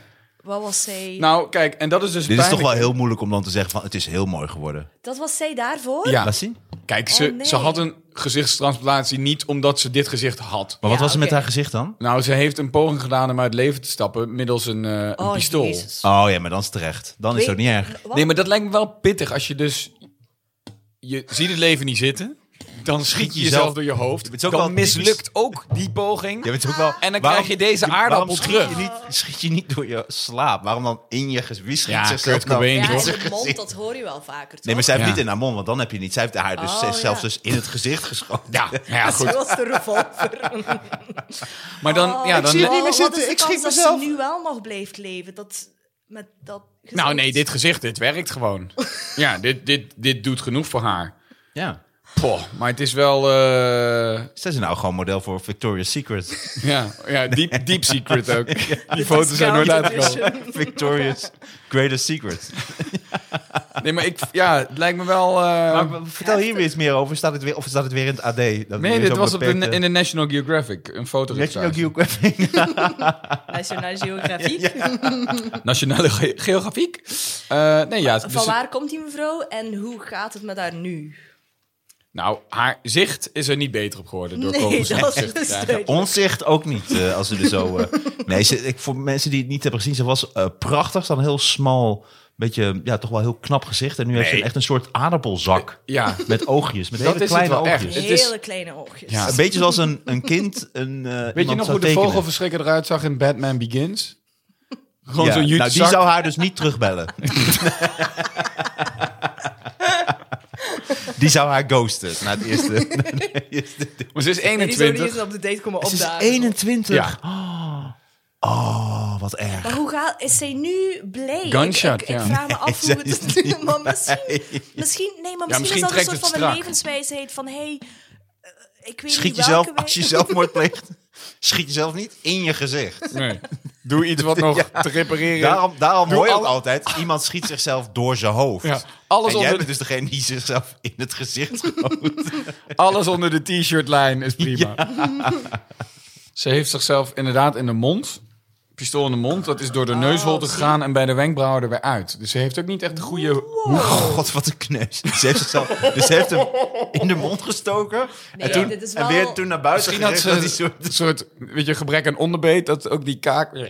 Speaker 4: Wat was zij?
Speaker 3: Nou, kijk, en dat is dus
Speaker 2: Dit is toch wel
Speaker 3: pijnlijk.
Speaker 2: heel moeilijk om dan te zeggen van het is heel mooi geworden.
Speaker 4: Dat was zij daarvoor?
Speaker 3: Ja,
Speaker 2: Laat zien.
Speaker 3: kijk, ze,
Speaker 4: Oh, nee.
Speaker 3: ze had een gezichtstransplantatie niet omdat ze dit gezicht had.
Speaker 2: Maar wat
Speaker 4: Ja,
Speaker 2: was er met
Speaker 4: oké.
Speaker 2: haar gezicht dan?
Speaker 3: Nou, ze heeft een poging gedaan om uit het leven te stappen middels een, eh, een
Speaker 4: Oh,
Speaker 3: pistool.
Speaker 4: Jezus.
Speaker 2: Oh ja, maar dan is het terecht. Dan is het ook niet erg.
Speaker 4: Wat?
Speaker 3: Nee, maar dat lijkt me wel pittig als je dus... Je ziet het leven niet zitten. Dan schiet je jezelf
Speaker 2: jezelf-
Speaker 3: door je hoofd.
Speaker 2: Het is ook wel
Speaker 3: dan
Speaker 2: typisch-
Speaker 3: mislukt ook die poging.
Speaker 2: Ja, maar het is ook wel,
Speaker 3: En dan
Speaker 2: waarom-
Speaker 3: krijg je deze
Speaker 2: waarom
Speaker 3: aardappel
Speaker 2: schiet
Speaker 3: terug.
Speaker 2: Je niet, schiet je niet door je slaap? Waarom dan in je gezicht? Wie schiet
Speaker 3: Ja,
Speaker 2: zichzelf
Speaker 3: Kurt
Speaker 2: nou-
Speaker 3: Cobain,
Speaker 4: Ja,
Speaker 3: toch?
Speaker 4: in de mond, dat hoor je wel vaker, toch?
Speaker 2: Nee, maar zij heeft
Speaker 3: Ja.
Speaker 2: niet in haar mond, want dan heb je niet. Zij heeft haar dus
Speaker 4: Oh,
Speaker 2: zelfs
Speaker 4: ja.
Speaker 2: dus in het gezicht geschoten.
Speaker 3: Ja, nou ja, goed.
Speaker 4: Zoals de revolver.
Speaker 3: Maar dan... Ja,
Speaker 4: ik
Speaker 3: dan
Speaker 7: zie het niet meer
Speaker 4: Oh, wat
Speaker 7: zitten.
Speaker 4: is de
Speaker 7: Ik schiet
Speaker 4: kans dat ze
Speaker 7: mezelf.
Speaker 4: nu wel nog blijft leven? Dat, met dat gezicht?
Speaker 3: nou nee, dit gezicht, dit werkt gewoon. Ja, dit, dit, dit doet genoeg voor haar.
Speaker 2: Ja.
Speaker 3: Poh, maar het is wel... eh,
Speaker 2: Zij is nou gewoon model voor Victoria's Secret.
Speaker 3: ja, ja deep, deep secret ook. Die
Speaker 4: Discount
Speaker 3: foto's zijn nooit uitgekomen.
Speaker 4: edition.
Speaker 2: Victoria's Greatest Secret.
Speaker 3: Nee, maar ik, ja, het lijkt me wel. eh,
Speaker 2: Maar w- vertel hier weer iets meer over. Staat het weer, of staat het weer in het AD? Dat
Speaker 3: nee, dit was op de, in
Speaker 2: een
Speaker 3: de National Geographic. Een foto
Speaker 2: National Geographic.
Speaker 4: Nationale Geografie.
Speaker 3: Nationale Ge- Geographiek. Eh, nee, ja. dus-
Speaker 4: Van waar komt die mevrouw en hoe gaat het met haar nu?
Speaker 3: nou, haar zicht is er niet beter op geworden door
Speaker 4: Nee,
Speaker 3: kogels in het
Speaker 4: dat is
Speaker 3: gezicht te
Speaker 4: dus
Speaker 3: krijgen.
Speaker 4: duidelijk.
Speaker 2: Ons zicht ook niet, eh, als ze er zo... eh, nee, ze, ik, voor mensen die het niet hebben gezien, ze was eh, prachtig. Ze had een heel smal, beetje, ja, toch wel heel knap gezicht. En nu heeft ze echt een soort aardappelzak
Speaker 3: Ja,
Speaker 2: met oogjes. Met
Speaker 3: Dat
Speaker 2: hele
Speaker 3: is het
Speaker 2: kleine
Speaker 3: wel echt.
Speaker 2: oogjes.
Speaker 3: Het is-
Speaker 4: Hele kleine oogjes.
Speaker 3: Ja.
Speaker 2: Een beetje zoals een, een kind een, eh
Speaker 3: weet je
Speaker 2: iemand
Speaker 3: nog
Speaker 2: zou
Speaker 3: hoe de
Speaker 2: tekenen.
Speaker 3: vogelverschrikker eruit zag in Batman Begins? Gewoon
Speaker 2: Ja,
Speaker 3: zo'n jute
Speaker 2: Nou, die
Speaker 3: zak.
Speaker 2: zou haar dus niet terugbellen. die zou haar ghosten na het eerste.
Speaker 3: Maar ze is
Speaker 4: En die zou die
Speaker 3: 21.
Speaker 4: eens op de date komen
Speaker 2: Ze is
Speaker 4: opdagen.
Speaker 2: 21.
Speaker 3: Ja.
Speaker 2: Oh, wat erg.
Speaker 4: Maar hoe gaat... Is zij nu blij?
Speaker 3: Gunshot,
Speaker 4: ik, ik,
Speaker 3: ja.
Speaker 4: Ik vraag me af
Speaker 2: zij
Speaker 4: hoe
Speaker 2: is
Speaker 4: het... is. maar misschien, misschien... Nee, maar misschien,
Speaker 3: misschien
Speaker 4: is dat
Speaker 3: trekt
Speaker 4: een
Speaker 3: het
Speaker 4: soort van een
Speaker 3: strak.
Speaker 4: levenswijsheid van... Hé, hey, eh, ik weet
Speaker 2: Schiet
Speaker 4: niet
Speaker 2: jezelf,
Speaker 4: welke
Speaker 2: als je
Speaker 4: wij-
Speaker 2: zelfmoord pleegt, schiet jezelf niet in je gezicht.
Speaker 3: Nee. Doe iets wat nog te repareren.
Speaker 2: Daarom, daarom
Speaker 3: Doe
Speaker 2: hoor je ook
Speaker 3: alle-
Speaker 2: altijd, iemand schiet zichzelf door zijn hoofd.
Speaker 3: Ja,
Speaker 2: en
Speaker 3: alles
Speaker 2: jij
Speaker 3: onder-
Speaker 2: bent dus degene die zichzelf in het gezicht
Speaker 3: Alles onder de t-shirtlijn is prima. Ze heeft zichzelf inderdaad in de mond. Pistool in de mond. Dat is door
Speaker 4: Oh,
Speaker 3: de neusholte gegaan en bij de wenkbrauwen er weer uit. Dus ze heeft ook niet echt de goede...
Speaker 2: Oh, God, wat een kneus. Ze heeft, zichzelf, dus ze heeft hem in de mond gestoken.
Speaker 4: Nee,
Speaker 2: en, toen,
Speaker 4: dit is
Speaker 2: en
Speaker 4: wel-
Speaker 2: weer toen naar buiten
Speaker 3: Misschien had
Speaker 2: gericht,
Speaker 3: ze
Speaker 2: dat die soort-
Speaker 3: een soort weet je, gebrek aan onderbeet. Dat ook die kaak... Die...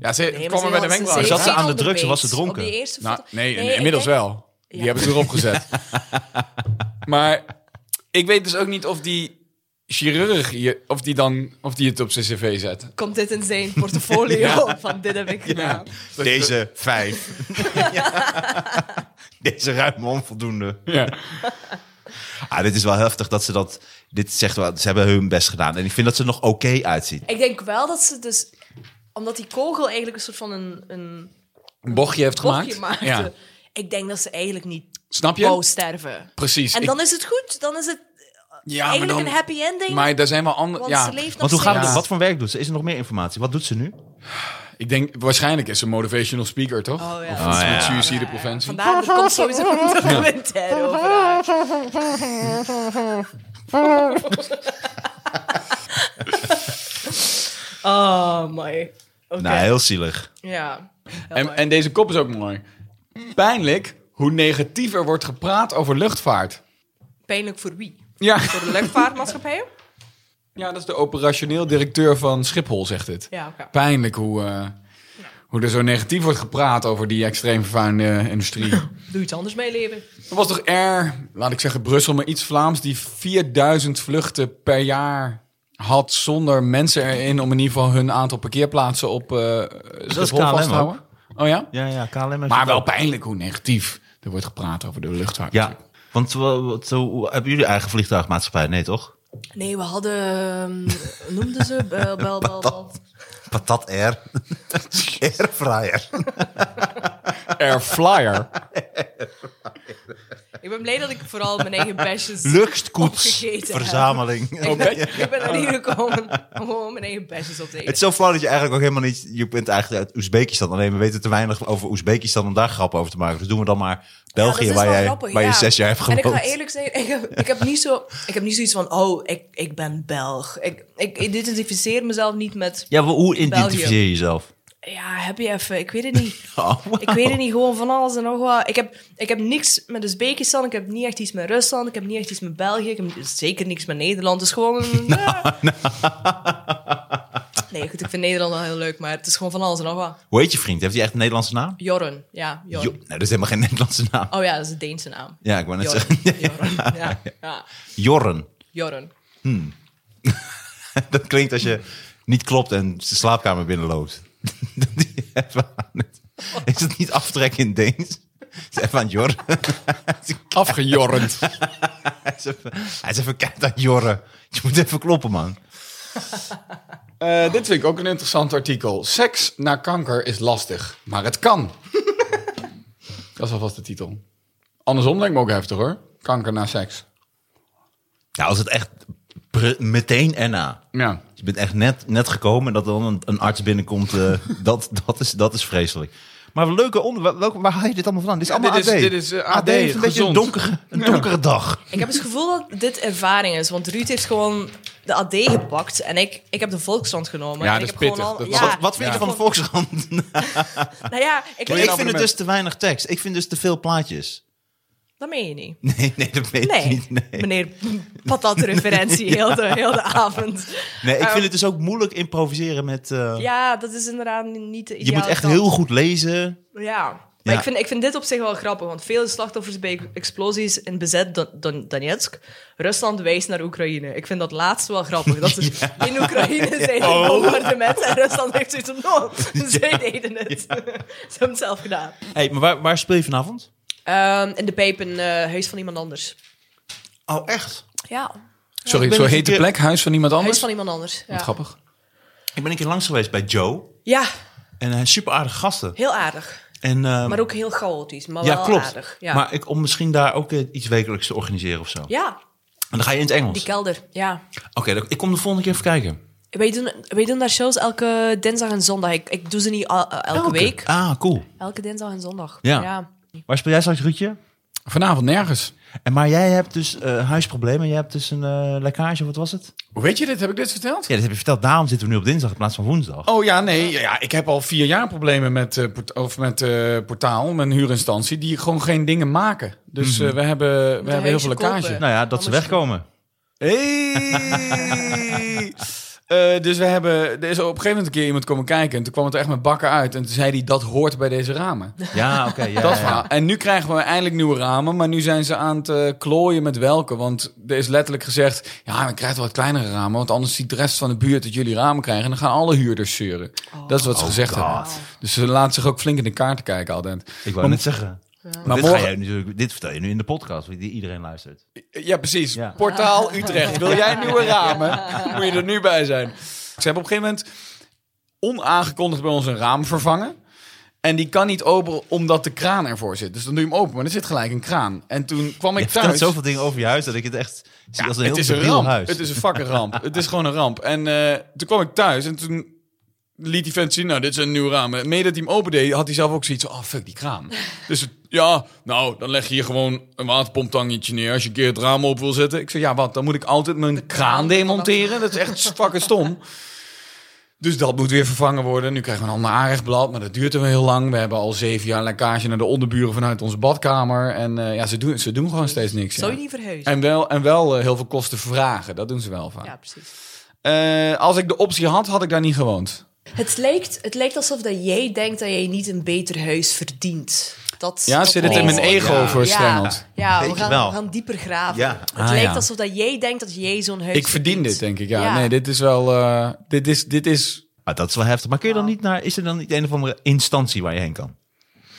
Speaker 3: Ja, ze
Speaker 4: Nee, maar
Speaker 3: kwam er bij de
Speaker 4: had-
Speaker 3: wenkbrauwen.
Speaker 2: zat
Speaker 4: heeft
Speaker 2: ze
Speaker 4: geen
Speaker 2: aan de drugs,
Speaker 4: onderbeet.
Speaker 2: ze was ze dronken.
Speaker 4: Op die eerste
Speaker 3: Nou,
Speaker 4: foto-
Speaker 3: nee,
Speaker 4: ik
Speaker 3: inmiddels
Speaker 4: denk-
Speaker 3: wel. Die hebben ze erop gezet. maar ik weet dus ook niet of die chirurg... hier- Of die, dan, of die het op zijn cv zet.
Speaker 4: Komt dit in zijn portfolio van dit heb ik gedaan.
Speaker 2: Deze vijf. Deze ruim onvoldoende.
Speaker 3: Ja.
Speaker 2: Ah, dit is wel heftig dat ze dat... Dit zegt wel, ze hebben hun best gedaan. En ik vind dat ze er nog oké uitziet.
Speaker 4: Ik denk wel dat ze dus... Omdat die kogel eigenlijk een soort van een, een
Speaker 3: Een bochtje heeft gemaakt.
Speaker 4: bochtje maakte.
Speaker 3: Ja.
Speaker 4: Ik denk dat ze eigenlijk niet
Speaker 3: Snap je?
Speaker 4: wou sterven.
Speaker 3: Precies.
Speaker 4: En
Speaker 3: Dus Ik-
Speaker 4: dan is het goed. Dan is het
Speaker 3: ja,
Speaker 4: eigenlijk
Speaker 3: maar dan-
Speaker 4: een happy ending.
Speaker 3: Maar daar zijn wel andere.
Speaker 4: want
Speaker 3: Ja,
Speaker 4: ze leeft nog
Speaker 2: Want hoe gaat
Speaker 4: steeds.
Speaker 2: het?
Speaker 3: Ja.
Speaker 2: Wat voor werk doet ze? Is er nog meer informatie? Wat doet ze nu?
Speaker 3: ik denk waarschijnlijk is ze een motivational speaker, toch?
Speaker 4: Oh, ja.
Speaker 3: Iets
Speaker 2: ja.
Speaker 3: met suicide preventie.
Speaker 4: Vandaar er komt sowieso een documentaire over haar. Oh, mooi. Oké.
Speaker 2: Nou, heel zielig.
Speaker 4: Ja. Heel
Speaker 3: En,
Speaker 4: mooi.
Speaker 3: en deze kop is ook mooi. Pijnlijk hoe negatief er wordt gepraat over luchtvaart.
Speaker 4: Pijnlijk voor wie?
Speaker 3: Ja.
Speaker 4: Voor de luchtvaartmaatschappijen?
Speaker 3: ja, dat is de operationeel directeur van Schiphol, zegt dit.
Speaker 4: Ja, oké.
Speaker 3: Pijnlijk hoe, eh, hoe er zo negatief wordt gepraat over die extreem vervuilende industrie.
Speaker 4: Doe iets anders mee leven.
Speaker 3: er was toch Air, laat ik zeggen Brussel, maar iets Vlaams, die 4000 vluchten per jaar had zonder mensen erin om in ieder geval hun aantal parkeerplaatsen op eh Schiphol
Speaker 2: KLM
Speaker 3: vast te houden. Oh ja?
Speaker 2: Ja, ja, KLM heeft
Speaker 3: Maar
Speaker 2: het
Speaker 3: wel
Speaker 2: ook.
Speaker 3: pijnlijk hoe negatief er wordt gepraat over de luchtvaart.
Speaker 2: Ja, want eh, wat, eh, hoe- hebben jullie eigen vliegtuigmaatschappij? Nee, toch?
Speaker 4: Nee, we hadden... ehm, noemden ze? Bel, bel, bel, bel.
Speaker 2: Patat Air. Airfryer.
Speaker 3: Air Flyer.
Speaker 4: Ik Ik ben blij dat ik vooral mijn eigen besjes opgegeten heb.
Speaker 2: luchtkoetsverzameling.
Speaker 4: Ik ben, ik ben naar hier gekomen om gewoon mijn eigen besjes op te
Speaker 2: Het
Speaker 4: eten.
Speaker 2: is zo flauw dat je eigenlijk ook helemaal niet... Je bent eigenlijk uit Oezbekistan. Alleen we weten te weinig over Oezbekistan om daar grappen over te maken. Dus doen we dan maar
Speaker 4: Ja, dat
Speaker 2: België,
Speaker 4: is
Speaker 2: waar,
Speaker 4: wel
Speaker 2: jij,
Speaker 4: grappig,
Speaker 2: waar je
Speaker 4: ja.
Speaker 2: zes jaar hebt gewoond.
Speaker 4: En ik ga eerlijk zijn, ik heb, ik heb, niet, zo, ik heb niet zoiets van, oh, ik, ik ben Belg. Ik, ik identificeer mezelf niet met,
Speaker 2: Ja, maar hoe identificeer
Speaker 4: België.
Speaker 2: je jezelf?
Speaker 4: ja, heb je even, ik weet het niet.
Speaker 2: Oh, wauw.
Speaker 4: Ik weet het niet, gewoon van alles en nog wat. Ik heb, ik heb niks met Uzbekistan, ik heb niet echt iets met Rusland, ik heb niet echt iets met België, ik heb zeker niks met Nederland. Het is gewoon... een-
Speaker 2: Nou,
Speaker 4: Nee, goed, ik vind Nederland wel heel leuk, maar het is gewoon van alles en nog wat.
Speaker 2: Hoe heet je vriend? Heeft hij echt een Nederlandse naam?
Speaker 4: Jorren, ja, Jorren.
Speaker 2: Jo, nou, dat is helemaal geen Nederlandse naam.
Speaker 4: Oh ja, dat is een Deense naam.
Speaker 2: Ja, ik wou net
Speaker 4: Jorren,
Speaker 2: zeggen.
Speaker 4: Jorren, ja, ja,
Speaker 2: Jorren.
Speaker 4: Jorren.
Speaker 2: Dat klinkt als je niet klopt en de slaapkamer binnenloopt. Dat die even aan het- Is het niet aftrekken in Deens? Is Even aan Jorren.
Speaker 3: Afgejorrend.
Speaker 2: Hij is even, hij is even keihard aan Jorren. Je moet even kloppen, man.
Speaker 3: Eh, dit vind ik ook een interessant artikel. Seks na kanker is lastig, maar het kan. dat is alvast de titel. Andersom lijkt me ook heftig hoor. Kanker na seks.
Speaker 2: Nou, als het echt pre- meteen erna.
Speaker 3: Ja.
Speaker 2: Je bent echt net, net gekomen en dat dan een, een arts binnenkomt. eh, dat, dat, is, dat is vreselijk. Maar leuke onder, welke, waar haal je dit allemaal vandaan? Dit is
Speaker 3: Ja,
Speaker 2: allemaal
Speaker 3: dit is-
Speaker 2: AD.
Speaker 3: dit is, eh, AD,
Speaker 2: heeft een beetje een
Speaker 3: gezond.
Speaker 2: donkere, een donkere dag.
Speaker 4: Ik heb het gevoel dat dit ervaring is, want Ruud heeft gewoon de AD gepakt en ik, ik heb de Volkskrant genomen.
Speaker 3: Ja,
Speaker 4: en
Speaker 3: dat
Speaker 4: ik
Speaker 3: is
Speaker 4: heb
Speaker 3: pittig.
Speaker 4: Gewoon al,
Speaker 3: Dat-
Speaker 4: ja,
Speaker 2: Wat, wat vind
Speaker 4: ik
Speaker 2: je van de
Speaker 4: vond-
Speaker 2: Volkskrant?
Speaker 4: Nou ja, ik,
Speaker 2: ik
Speaker 3: je nou-
Speaker 2: vind het dus te weinig tekst. Ik vind dus te veel plaatjes.
Speaker 4: dat meen je niet.
Speaker 2: Nee, nee, dat weet ik
Speaker 4: Nee,
Speaker 2: niet. Nee.
Speaker 4: meneer patatreferentie heel, de, heel de avond.
Speaker 2: nee, ik
Speaker 3: Eh,
Speaker 4: Ehm,
Speaker 2: vind het dus ook moeilijk improviseren met... eh,
Speaker 4: Ja, dat is inderdaad niet de
Speaker 2: je moet
Speaker 4: ideale
Speaker 2: echt
Speaker 4: kant.
Speaker 2: heel goed lezen.
Speaker 4: Ja. Maar
Speaker 2: Ja.
Speaker 4: Ik, vind, ik vind dit op zich wel grappig, want veel slachtoffers bij explosies in bezet Don- Don- Donetsk, Rusland wijst naar Oekraïne. Ik vind dat laatste wel grappig. Dat ze in Oekraïne zijn oh. bombardementen en Rusland heeft zoiets van, no, zij deden het. ze hebben het zelf gedaan.
Speaker 2: hey, maar waar, waar speel je vanavond?
Speaker 4: Ehm, in de pijp een eh, huis van iemand anders.
Speaker 2: Oh, echt?
Speaker 4: Ja,
Speaker 3: Sorry,
Speaker 2: ik ben
Speaker 3: zo
Speaker 2: niet
Speaker 3: heet de
Speaker 2: verkeerd.
Speaker 3: plek. Huis van iemand
Speaker 4: huis
Speaker 3: anders.
Speaker 4: van iemand anders.
Speaker 3: Wat
Speaker 4: Ja,
Speaker 3: grappig.
Speaker 2: Ik ben een keer langs geweest bij Joe.
Speaker 4: ja
Speaker 2: En hij is super aardige gasten.
Speaker 4: heel aardig.
Speaker 2: En, ehm,
Speaker 4: Maar ook heel chaotisch, maar
Speaker 2: ja,
Speaker 4: wel
Speaker 2: klopt.
Speaker 4: aardig. Ja.
Speaker 2: Maar ik, om misschien daar ook eh, iets wekelijks te organiseren of zo.
Speaker 4: ja,
Speaker 2: En dan ga je in het
Speaker 4: die
Speaker 2: Engels.
Speaker 4: kelder, ja.
Speaker 2: Oké, dan- ik kom de volgende keer even kijken.
Speaker 4: Wij doen, wij doen daar shows elke dinsdag en zondag. Ik, ik doe ze niet al- elke, week.
Speaker 2: Ah, cool.
Speaker 4: Elke dinsdag en zondag.
Speaker 2: Ja. Waar speel jij straks, Ruudje?
Speaker 3: Vanavond nergens.
Speaker 2: En, maar jij hebt dus eh, huisproblemen. Jij hebt dus een eh, lekkage, of wat was het?
Speaker 3: Hoe weet je dit? Heb ik dit verteld?
Speaker 2: Ja, dat heb je verteld. Daarom zitten we nu op dinsdag in plaats van woensdag.
Speaker 3: Oh ja, nee. Ja, ik heb al vier jaar problemen met, eh, port- of met eh, Portaal, mijn huurinstantie, die gewoon geen dingen maken. Dus eh, we hebben, we hebben heel
Speaker 4: huisje
Speaker 3: veel lekkage.
Speaker 4: kopen.
Speaker 2: nou ja, dat ze
Speaker 4: Anders-
Speaker 2: wegkomen.
Speaker 3: Hey! Eh, dus we hebben, er is op een gegeven moment een keer iemand komen kijken. En toen kwam het echt met bakken uit. En toen zei hij, dat hoort bij deze ramen.
Speaker 2: Ja, oké. ja,
Speaker 3: dat
Speaker 2: ja, ja.
Speaker 3: verhaal. En nu krijgen we eindelijk nieuwe ramen. Maar nu zijn ze aan het eh, klooien met welke. Want er is letterlijk gezegd, ja, we krijgen wat kleinere ramen. Want anders ziet de rest van de buurt dat jullie ramen krijgen. En dan gaan alle huurders zeuren. dat is wat ze
Speaker 2: Oh,
Speaker 3: gezegd hebben. Dus ze laten zich ook flink in de kaarten kijken altijd.
Speaker 2: Ik wou net zeggen. Maar dit,
Speaker 3: morgen-
Speaker 2: ga jij natuurlijk, dit vertel je nu in de podcast, die iedereen luistert.
Speaker 3: Ja, precies.
Speaker 2: Ja.
Speaker 3: Portaal Utrecht. Wil jij nieuwe ramen? Moet je er nu bij zijn. Ze hebben op een gegeven moment onaangekondigd bij ons een raam vervangen. En die kan niet open omdat de kraan ervoor zit. Dus dan doe je hem open, maar er zit gelijk een kraan. En toen kwam
Speaker 2: Je
Speaker 3: ik
Speaker 2: vertelt
Speaker 3: thuis.
Speaker 2: zoveel dingen over je huis dat ik het echt zie als een heel
Speaker 3: het is een
Speaker 2: debiel
Speaker 3: ramp.
Speaker 2: huis.
Speaker 3: Het is een fucking ramp. het is gewoon een ramp. En eh, toen kwam ik thuis en toen liet die vent zien, nou, dit is een nieuw raam. En Mede dat hij hem opendeed, had hij zelf ook zoiets van, oh, fuck die kraan. dus het- ja, nou, dan leg je hier gewoon een waterpomptangetje neer als je een keer het raam op wil zetten. Ik zei, ja, wat, dan moet ik altijd mijn kraan demonteren? Dat is echt fucking stom. Dus dat moet weer vervangen worden. Nu krijgen we een ander aanrechtblad, maar dat duurt er wel heel lang. We hebben al zeven jaar lekkage naar de onderburen vanuit onze badkamer. En eh, ja, ze doen, ze doen gewoon steeds niks.
Speaker 4: Zou
Speaker 3: ja.
Speaker 4: je niet verhuizen?
Speaker 3: En wel, en wel eh, heel veel kosten vragen. Dat doen ze wel vaak.
Speaker 4: Ja, precies.
Speaker 3: Eh, als ik de optie had, had ik daar niet gewoond.
Speaker 4: Het lijkt, het lijkt alsof dat jij denkt dat jij niet een beter huis verdient. Dat,
Speaker 3: Ja,
Speaker 4: dat
Speaker 3: zit het in
Speaker 4: lijkt-
Speaker 3: mijn ego
Speaker 2: ja.
Speaker 3: verstrengeld?
Speaker 4: Ja, ja we,
Speaker 2: Beetje
Speaker 4: gaan,
Speaker 2: wel.
Speaker 4: we gaan dieper graven.
Speaker 2: Ja.
Speaker 4: Het
Speaker 3: Ah,
Speaker 4: lijkt
Speaker 3: ja.
Speaker 4: alsof dat jij denkt dat jij zo'n huis
Speaker 3: Ik verdien dit, denk ik. Ja,
Speaker 4: Ja.
Speaker 3: nee, dit is wel. eh, dit is. Dit is
Speaker 2: Maar dat is wel heftig. Maar kun je dan niet naar, is er dan niet een of andere instantie waar je heen kan?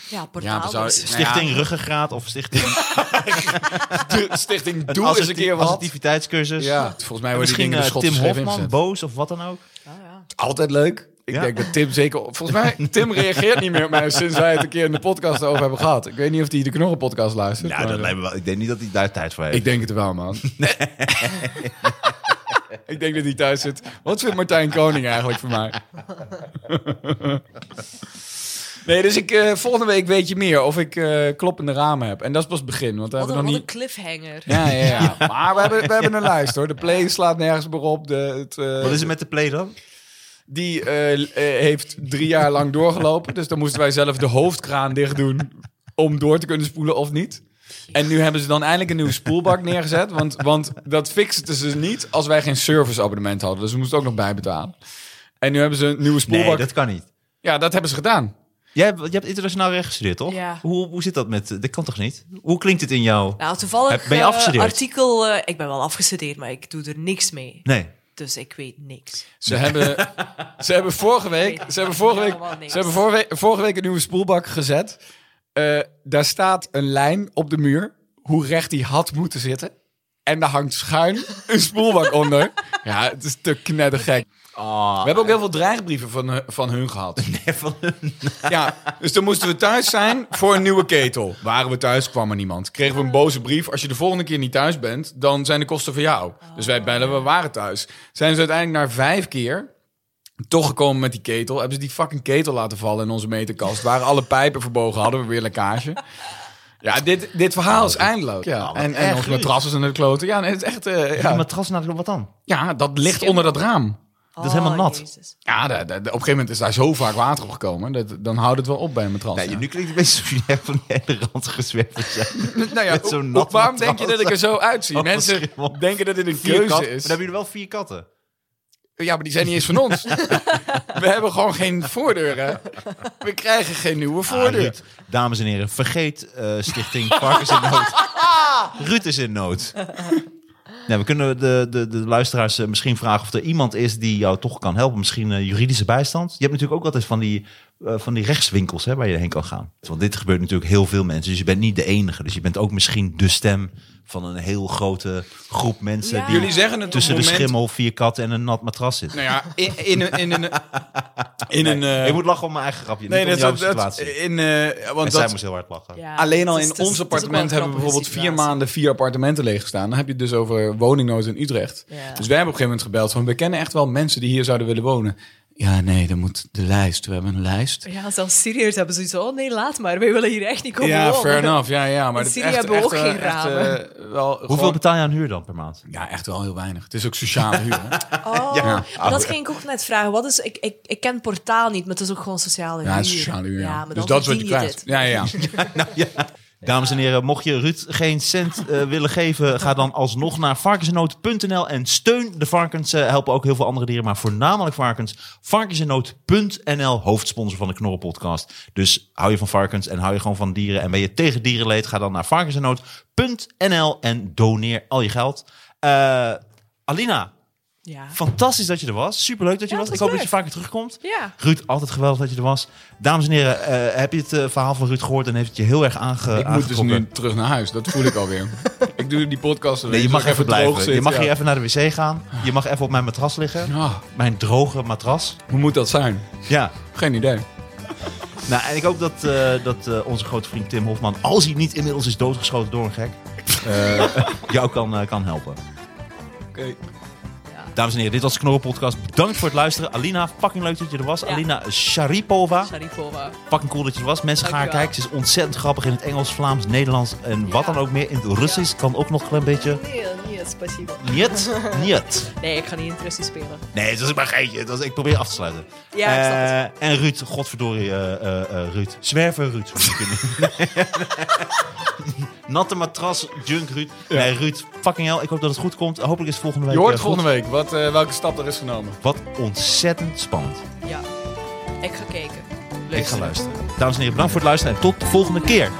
Speaker 4: Ja, portaal.
Speaker 3: we zouden-
Speaker 4: dus.
Speaker 3: Nou ja.
Speaker 2: Stichting Ruggengraat of Stichting
Speaker 3: Stichting Doe eens een
Speaker 2: Asserti-
Speaker 3: keer wat.
Speaker 2: Assertiviteitscursus?
Speaker 3: Ja, volgens mij
Speaker 2: En
Speaker 3: worden die
Speaker 2: Misschien
Speaker 3: dingen dus de
Speaker 2: eh,
Speaker 3: schot
Speaker 2: Tim
Speaker 3: geschreven
Speaker 2: Hofman,
Speaker 3: ingezet.
Speaker 2: Boos of wat dan ook.
Speaker 4: Oh, ja.
Speaker 3: Altijd leuk. Ik
Speaker 2: Ja.
Speaker 3: denk dat Tim zeker... Volgens mij, Tim reageert niet meer op mij sinds wij het een keer in de podcast over hebben gehad. Ik weet niet of hij de Knorren-podcast luistert.
Speaker 2: Nou,
Speaker 3: maar,
Speaker 2: dat
Speaker 3: eh,
Speaker 2: lijkt me wel. Ik denk niet dat hij daar tijd voor heeft.
Speaker 3: Ik denk het wel, man. ik denk dat hij thuis zit. Wat vindt Martijn Koning eigenlijk van mij? nee, dus ik, eh, volgende week weet je meer of ik eh, kloppende ramen heb. En dat is pas het begin, want we
Speaker 4: Wat een,
Speaker 3: hebben nog
Speaker 4: wat een
Speaker 3: niet...
Speaker 4: cliffhanger.
Speaker 3: Ja, ja, ja. Maar we hebben, we hebben een lijst, hoor. De play slaat nergens meer op. De, het, eh,
Speaker 2: Wat is er met de play dan?
Speaker 3: Die eh, eh, heeft drie jaar lang doorgelopen. Dus dan moesten wij zelf de hoofdkraan dicht doen om door te kunnen spoelen of niet. En nu hebben ze dan eindelijk een nieuwe spoelbak neergezet. Want, want dat fixten ze dus niet als wij geen serviceabonnement hadden. Dus we moesten ook nog bijbetalen. En nu hebben ze een nieuwe spoelbak.
Speaker 2: Nee, dat kan niet.
Speaker 3: Ja, dat hebben ze gedaan.
Speaker 2: Jij hebt, jij hebt internationaal recht gestudeerd, toch?
Speaker 4: Ja.
Speaker 2: Hoe, hoe zit dat met... eh, Dat kan toch niet? Hoe klinkt het in jou?
Speaker 4: Nou, toevallig
Speaker 2: Heb- ben je
Speaker 4: eh,
Speaker 2: afgestudeerd?
Speaker 4: artikel... eh, ik ben wel afgestudeerd, maar ik doe er niks mee.
Speaker 2: Nee.
Speaker 4: Dus ik weet niks.
Speaker 3: Ze hebben, ze hebben vorige week, ze hebben vorige week,
Speaker 4: Helemaal niks.
Speaker 3: ze hebben vorige week, vorige week een nieuwe spoelbak gezet. Eh, daar staat een lijn op de muur hoe recht die had moeten zitten. En daar hangt schuin een spoelbak onder. Ja, het is te knettergek. We hebben ook heel veel dreigbrieven van, hun- van hun gehad. Ja, dus dan moesten we thuis zijn voor een nieuwe ketel. Waren we thuis, kwam er niemand. Kregen we een boze brief. Als je de volgende keer niet thuis bent, dan zijn de kosten van jou. Dus wij bellen, we waren thuis. Zijn ze uiteindelijk na vijf keer toch gekomen met die ketel. Hebben ze die fucking ketel laten vallen in onze meterkast. Waren alle pijpen verbogen, hadden we weer lekkage. Ja, dit, dit verhaal is eindeloos. Ja, en, en ons matras is in de kloten. Ja, nee, het is echt... eh,
Speaker 2: Die
Speaker 3: ja.
Speaker 2: matras naar wat dan?
Speaker 3: ja, dat ligt onder dat raam.
Speaker 2: Dat is helemaal
Speaker 4: Oh,
Speaker 2: nat.
Speaker 4: Jezus.
Speaker 3: Ja, da- da- da- op een gegeven moment is daar zo vaak water op gekomen. Dat, dan houdt het wel op bij een matras.
Speaker 2: Nee,
Speaker 3: ja.
Speaker 2: nu klinkt het best alsof jullie echt van de hele rand gezwerven zijn.
Speaker 3: Nou ja,
Speaker 2: Met zo'n
Speaker 3: hoe-
Speaker 2: nat
Speaker 3: hoe- waarom
Speaker 2: matras.
Speaker 3: denk je dat ik er zo uitzie?
Speaker 2: Oh,
Speaker 3: Mensen
Speaker 2: schil.
Speaker 3: denken dat dit een
Speaker 2: Vier katten. Maar
Speaker 3: keuze
Speaker 2: dan
Speaker 3: is.
Speaker 2: hebben jullie wel vier katten.
Speaker 3: Ja, maar die zijn niet eens van ons. We hebben gewoon geen voordeur, hè. We krijgen geen nieuwe
Speaker 2: Ah,
Speaker 3: voordeur.
Speaker 2: Ruud, dames en heren, vergeet eh, Stichting Varkens in Nood. Ruud is in nood. Nou, we kunnen de, de, de luisteraars eh, misschien vragen of er iemand is die jou toch kan helpen. Misschien eh, juridische bijstand. Je hebt natuurlijk ook altijd van die, eh, van die rechtswinkels hè, waar je heen kan gaan. Want dit gebeurt natuurlijk heel veel mensen. Dus je bent niet de enige. Dus je bent ook misschien de stem van een heel grote groep mensen...
Speaker 4: Ja.
Speaker 2: die
Speaker 3: Jullie zeggen het
Speaker 2: tussen
Speaker 3: op
Speaker 2: de
Speaker 3: het moment...
Speaker 2: schimmel, vier katten en een nat matras zit.
Speaker 3: Nou ja, in, in een... In een, in een eh,
Speaker 2: ik moet lachen om mijn eigen grapje,
Speaker 3: nee,
Speaker 2: niet om
Speaker 3: dat,
Speaker 2: jouw
Speaker 3: dat,
Speaker 2: situatie.
Speaker 3: in, eh, want
Speaker 2: en zij
Speaker 3: dat,
Speaker 2: moest heel hard lachen.
Speaker 4: Ja,
Speaker 3: alleen al
Speaker 4: het is-
Speaker 3: in
Speaker 4: het is-
Speaker 3: ons
Speaker 4: het is ook wel een
Speaker 3: appartement hebben we
Speaker 4: grappige
Speaker 3: bijvoorbeeld vier
Speaker 4: situatie.
Speaker 3: maanden vier appartementen leeg gestaan. Dan heb je het dus over woningnood in Utrecht.
Speaker 4: Ja.
Speaker 3: Dus wij hebben op een gegeven moment gebeld van... we kennen echt wel mensen die hier zouden willen wonen. Ja, nee, dan moet de lijst. We hebben een lijst.
Speaker 4: Ja, zelfs Syriërs hebben zoiets van, oh nee, laat maar. Wij willen hier echt niet komen
Speaker 3: ja,
Speaker 4: wonen.
Speaker 3: fair enough. Ja, ja, maar dit
Speaker 4: In
Speaker 3: is
Speaker 4: Syrië
Speaker 3: echt,
Speaker 4: hebben we
Speaker 3: echt,
Speaker 4: ook
Speaker 3: eh,
Speaker 4: geen
Speaker 3: echt,
Speaker 4: ramen.
Speaker 3: eh, wel
Speaker 2: Hoeveel
Speaker 3: gewoon-
Speaker 2: betaal je aan huur dan per maand?
Speaker 3: Ja, echt wel heel weinig. Het is ook sociale huur. hè?
Speaker 4: Oh,
Speaker 3: Ja.
Speaker 4: maar dat ging ik ook net vragen. Wat is, ik, ik, ik ken portaal niet, maar het is ook gewoon sociale huur.
Speaker 3: Ja, het is sociale huur. Ja,
Speaker 4: maar
Speaker 3: dus
Speaker 4: dan
Speaker 3: dat is wat je
Speaker 4: verdien
Speaker 3: krijgt.
Speaker 4: dit.
Speaker 3: Ja, ja.
Speaker 2: Dames en heren, mocht je Ruud geen cent eh, willen geven, ga dan alsnog naar varkensenoot.nl en steun de varkens. Ze helpen ook heel veel andere dieren, maar voornamelijk varkens. Varkensenoot.nl, hoofdsponsor van de Knorrenpodcast. Dus hou je van varkens en hou je gewoon van dieren. En ben je tegen dierenleed, ga dan naar varkensenoot.nl en doneer al je geld. Eh, Alina,
Speaker 4: Ja.
Speaker 2: fantastisch dat je er was. Superleuk dat je
Speaker 4: Ja,
Speaker 2: was.
Speaker 4: het
Speaker 2: Ik
Speaker 4: was
Speaker 2: hoop dat je
Speaker 4: leuk.
Speaker 2: vaker terugkomt.
Speaker 4: Ja.
Speaker 2: Ruud, altijd geweldig dat je er was. Dames en heren, eh, heb je het eh, verhaal van Ruud gehoord en heeft het je heel erg aange
Speaker 3: Ik moet dus
Speaker 2: aangetrokken?
Speaker 3: nu terug naar huis. Dat voel ik alweer. ik doe die podcast alleen,
Speaker 2: Nee, je
Speaker 3: zodat
Speaker 2: mag
Speaker 3: ik
Speaker 2: even
Speaker 3: droog
Speaker 2: blijven.
Speaker 3: zit,
Speaker 2: Je mag
Speaker 3: ja.
Speaker 2: hier even naar de wc gaan. Je mag even op mijn matras liggen.
Speaker 3: Ah,
Speaker 2: Mijn droge matras.
Speaker 3: hoe moet dat zijn?
Speaker 2: Ja.
Speaker 3: Geen idee.
Speaker 2: Nou, en ik hoop dat, eh, dat eh, onze grote vriend Tim Hofman, als hij niet inmiddels is doodgeschoten door een gek, eh, jou kan, eh, kan helpen.
Speaker 3: Oké.
Speaker 2: Dames en heren, dit was de Knorren Podcast. Bedankt voor het luisteren. Alina, fucking leuk dat je er was.
Speaker 4: Ja.
Speaker 2: Alina Sharipova.
Speaker 4: Sharipova.
Speaker 2: Fucking cool dat je er was. Mensen gaan
Speaker 4: Dankjewel.
Speaker 2: kijken. Ze is ontzettend grappig in het Engels, Vlaams, Nederlands en wat
Speaker 4: Ja.
Speaker 2: dan ook meer. In het Russisch kan ook nog een klein beetje.
Speaker 4: Nee, nee, spasibo.
Speaker 2: Niet, niet.
Speaker 4: Nee, ik ga niet in het Russisch spelen.
Speaker 2: Nee, dat is maar geetje. Dat is- ik probeer af te sluiten.
Speaker 4: Ja, ik snap
Speaker 2: Eh, En Ruud, godverdorie, eh eh, eh, Ruud. Zwerver Ruud. moet ik noemen. Natte matras, junk Ruud. Nee, Ruud, fucking hell. Ik hoop dat het goed komt. Hopelijk is het volgende week
Speaker 3: Je hoort
Speaker 2: eh,
Speaker 3: volgende
Speaker 2: goed.
Speaker 3: week wat, eh, welke stap er is genomen.
Speaker 2: Wat ontzettend spannend.
Speaker 4: Ja. Ik ga kijken.
Speaker 2: Ik ga luisteren. Dames en heren, bedankt voor het luisteren en tot de volgende keer.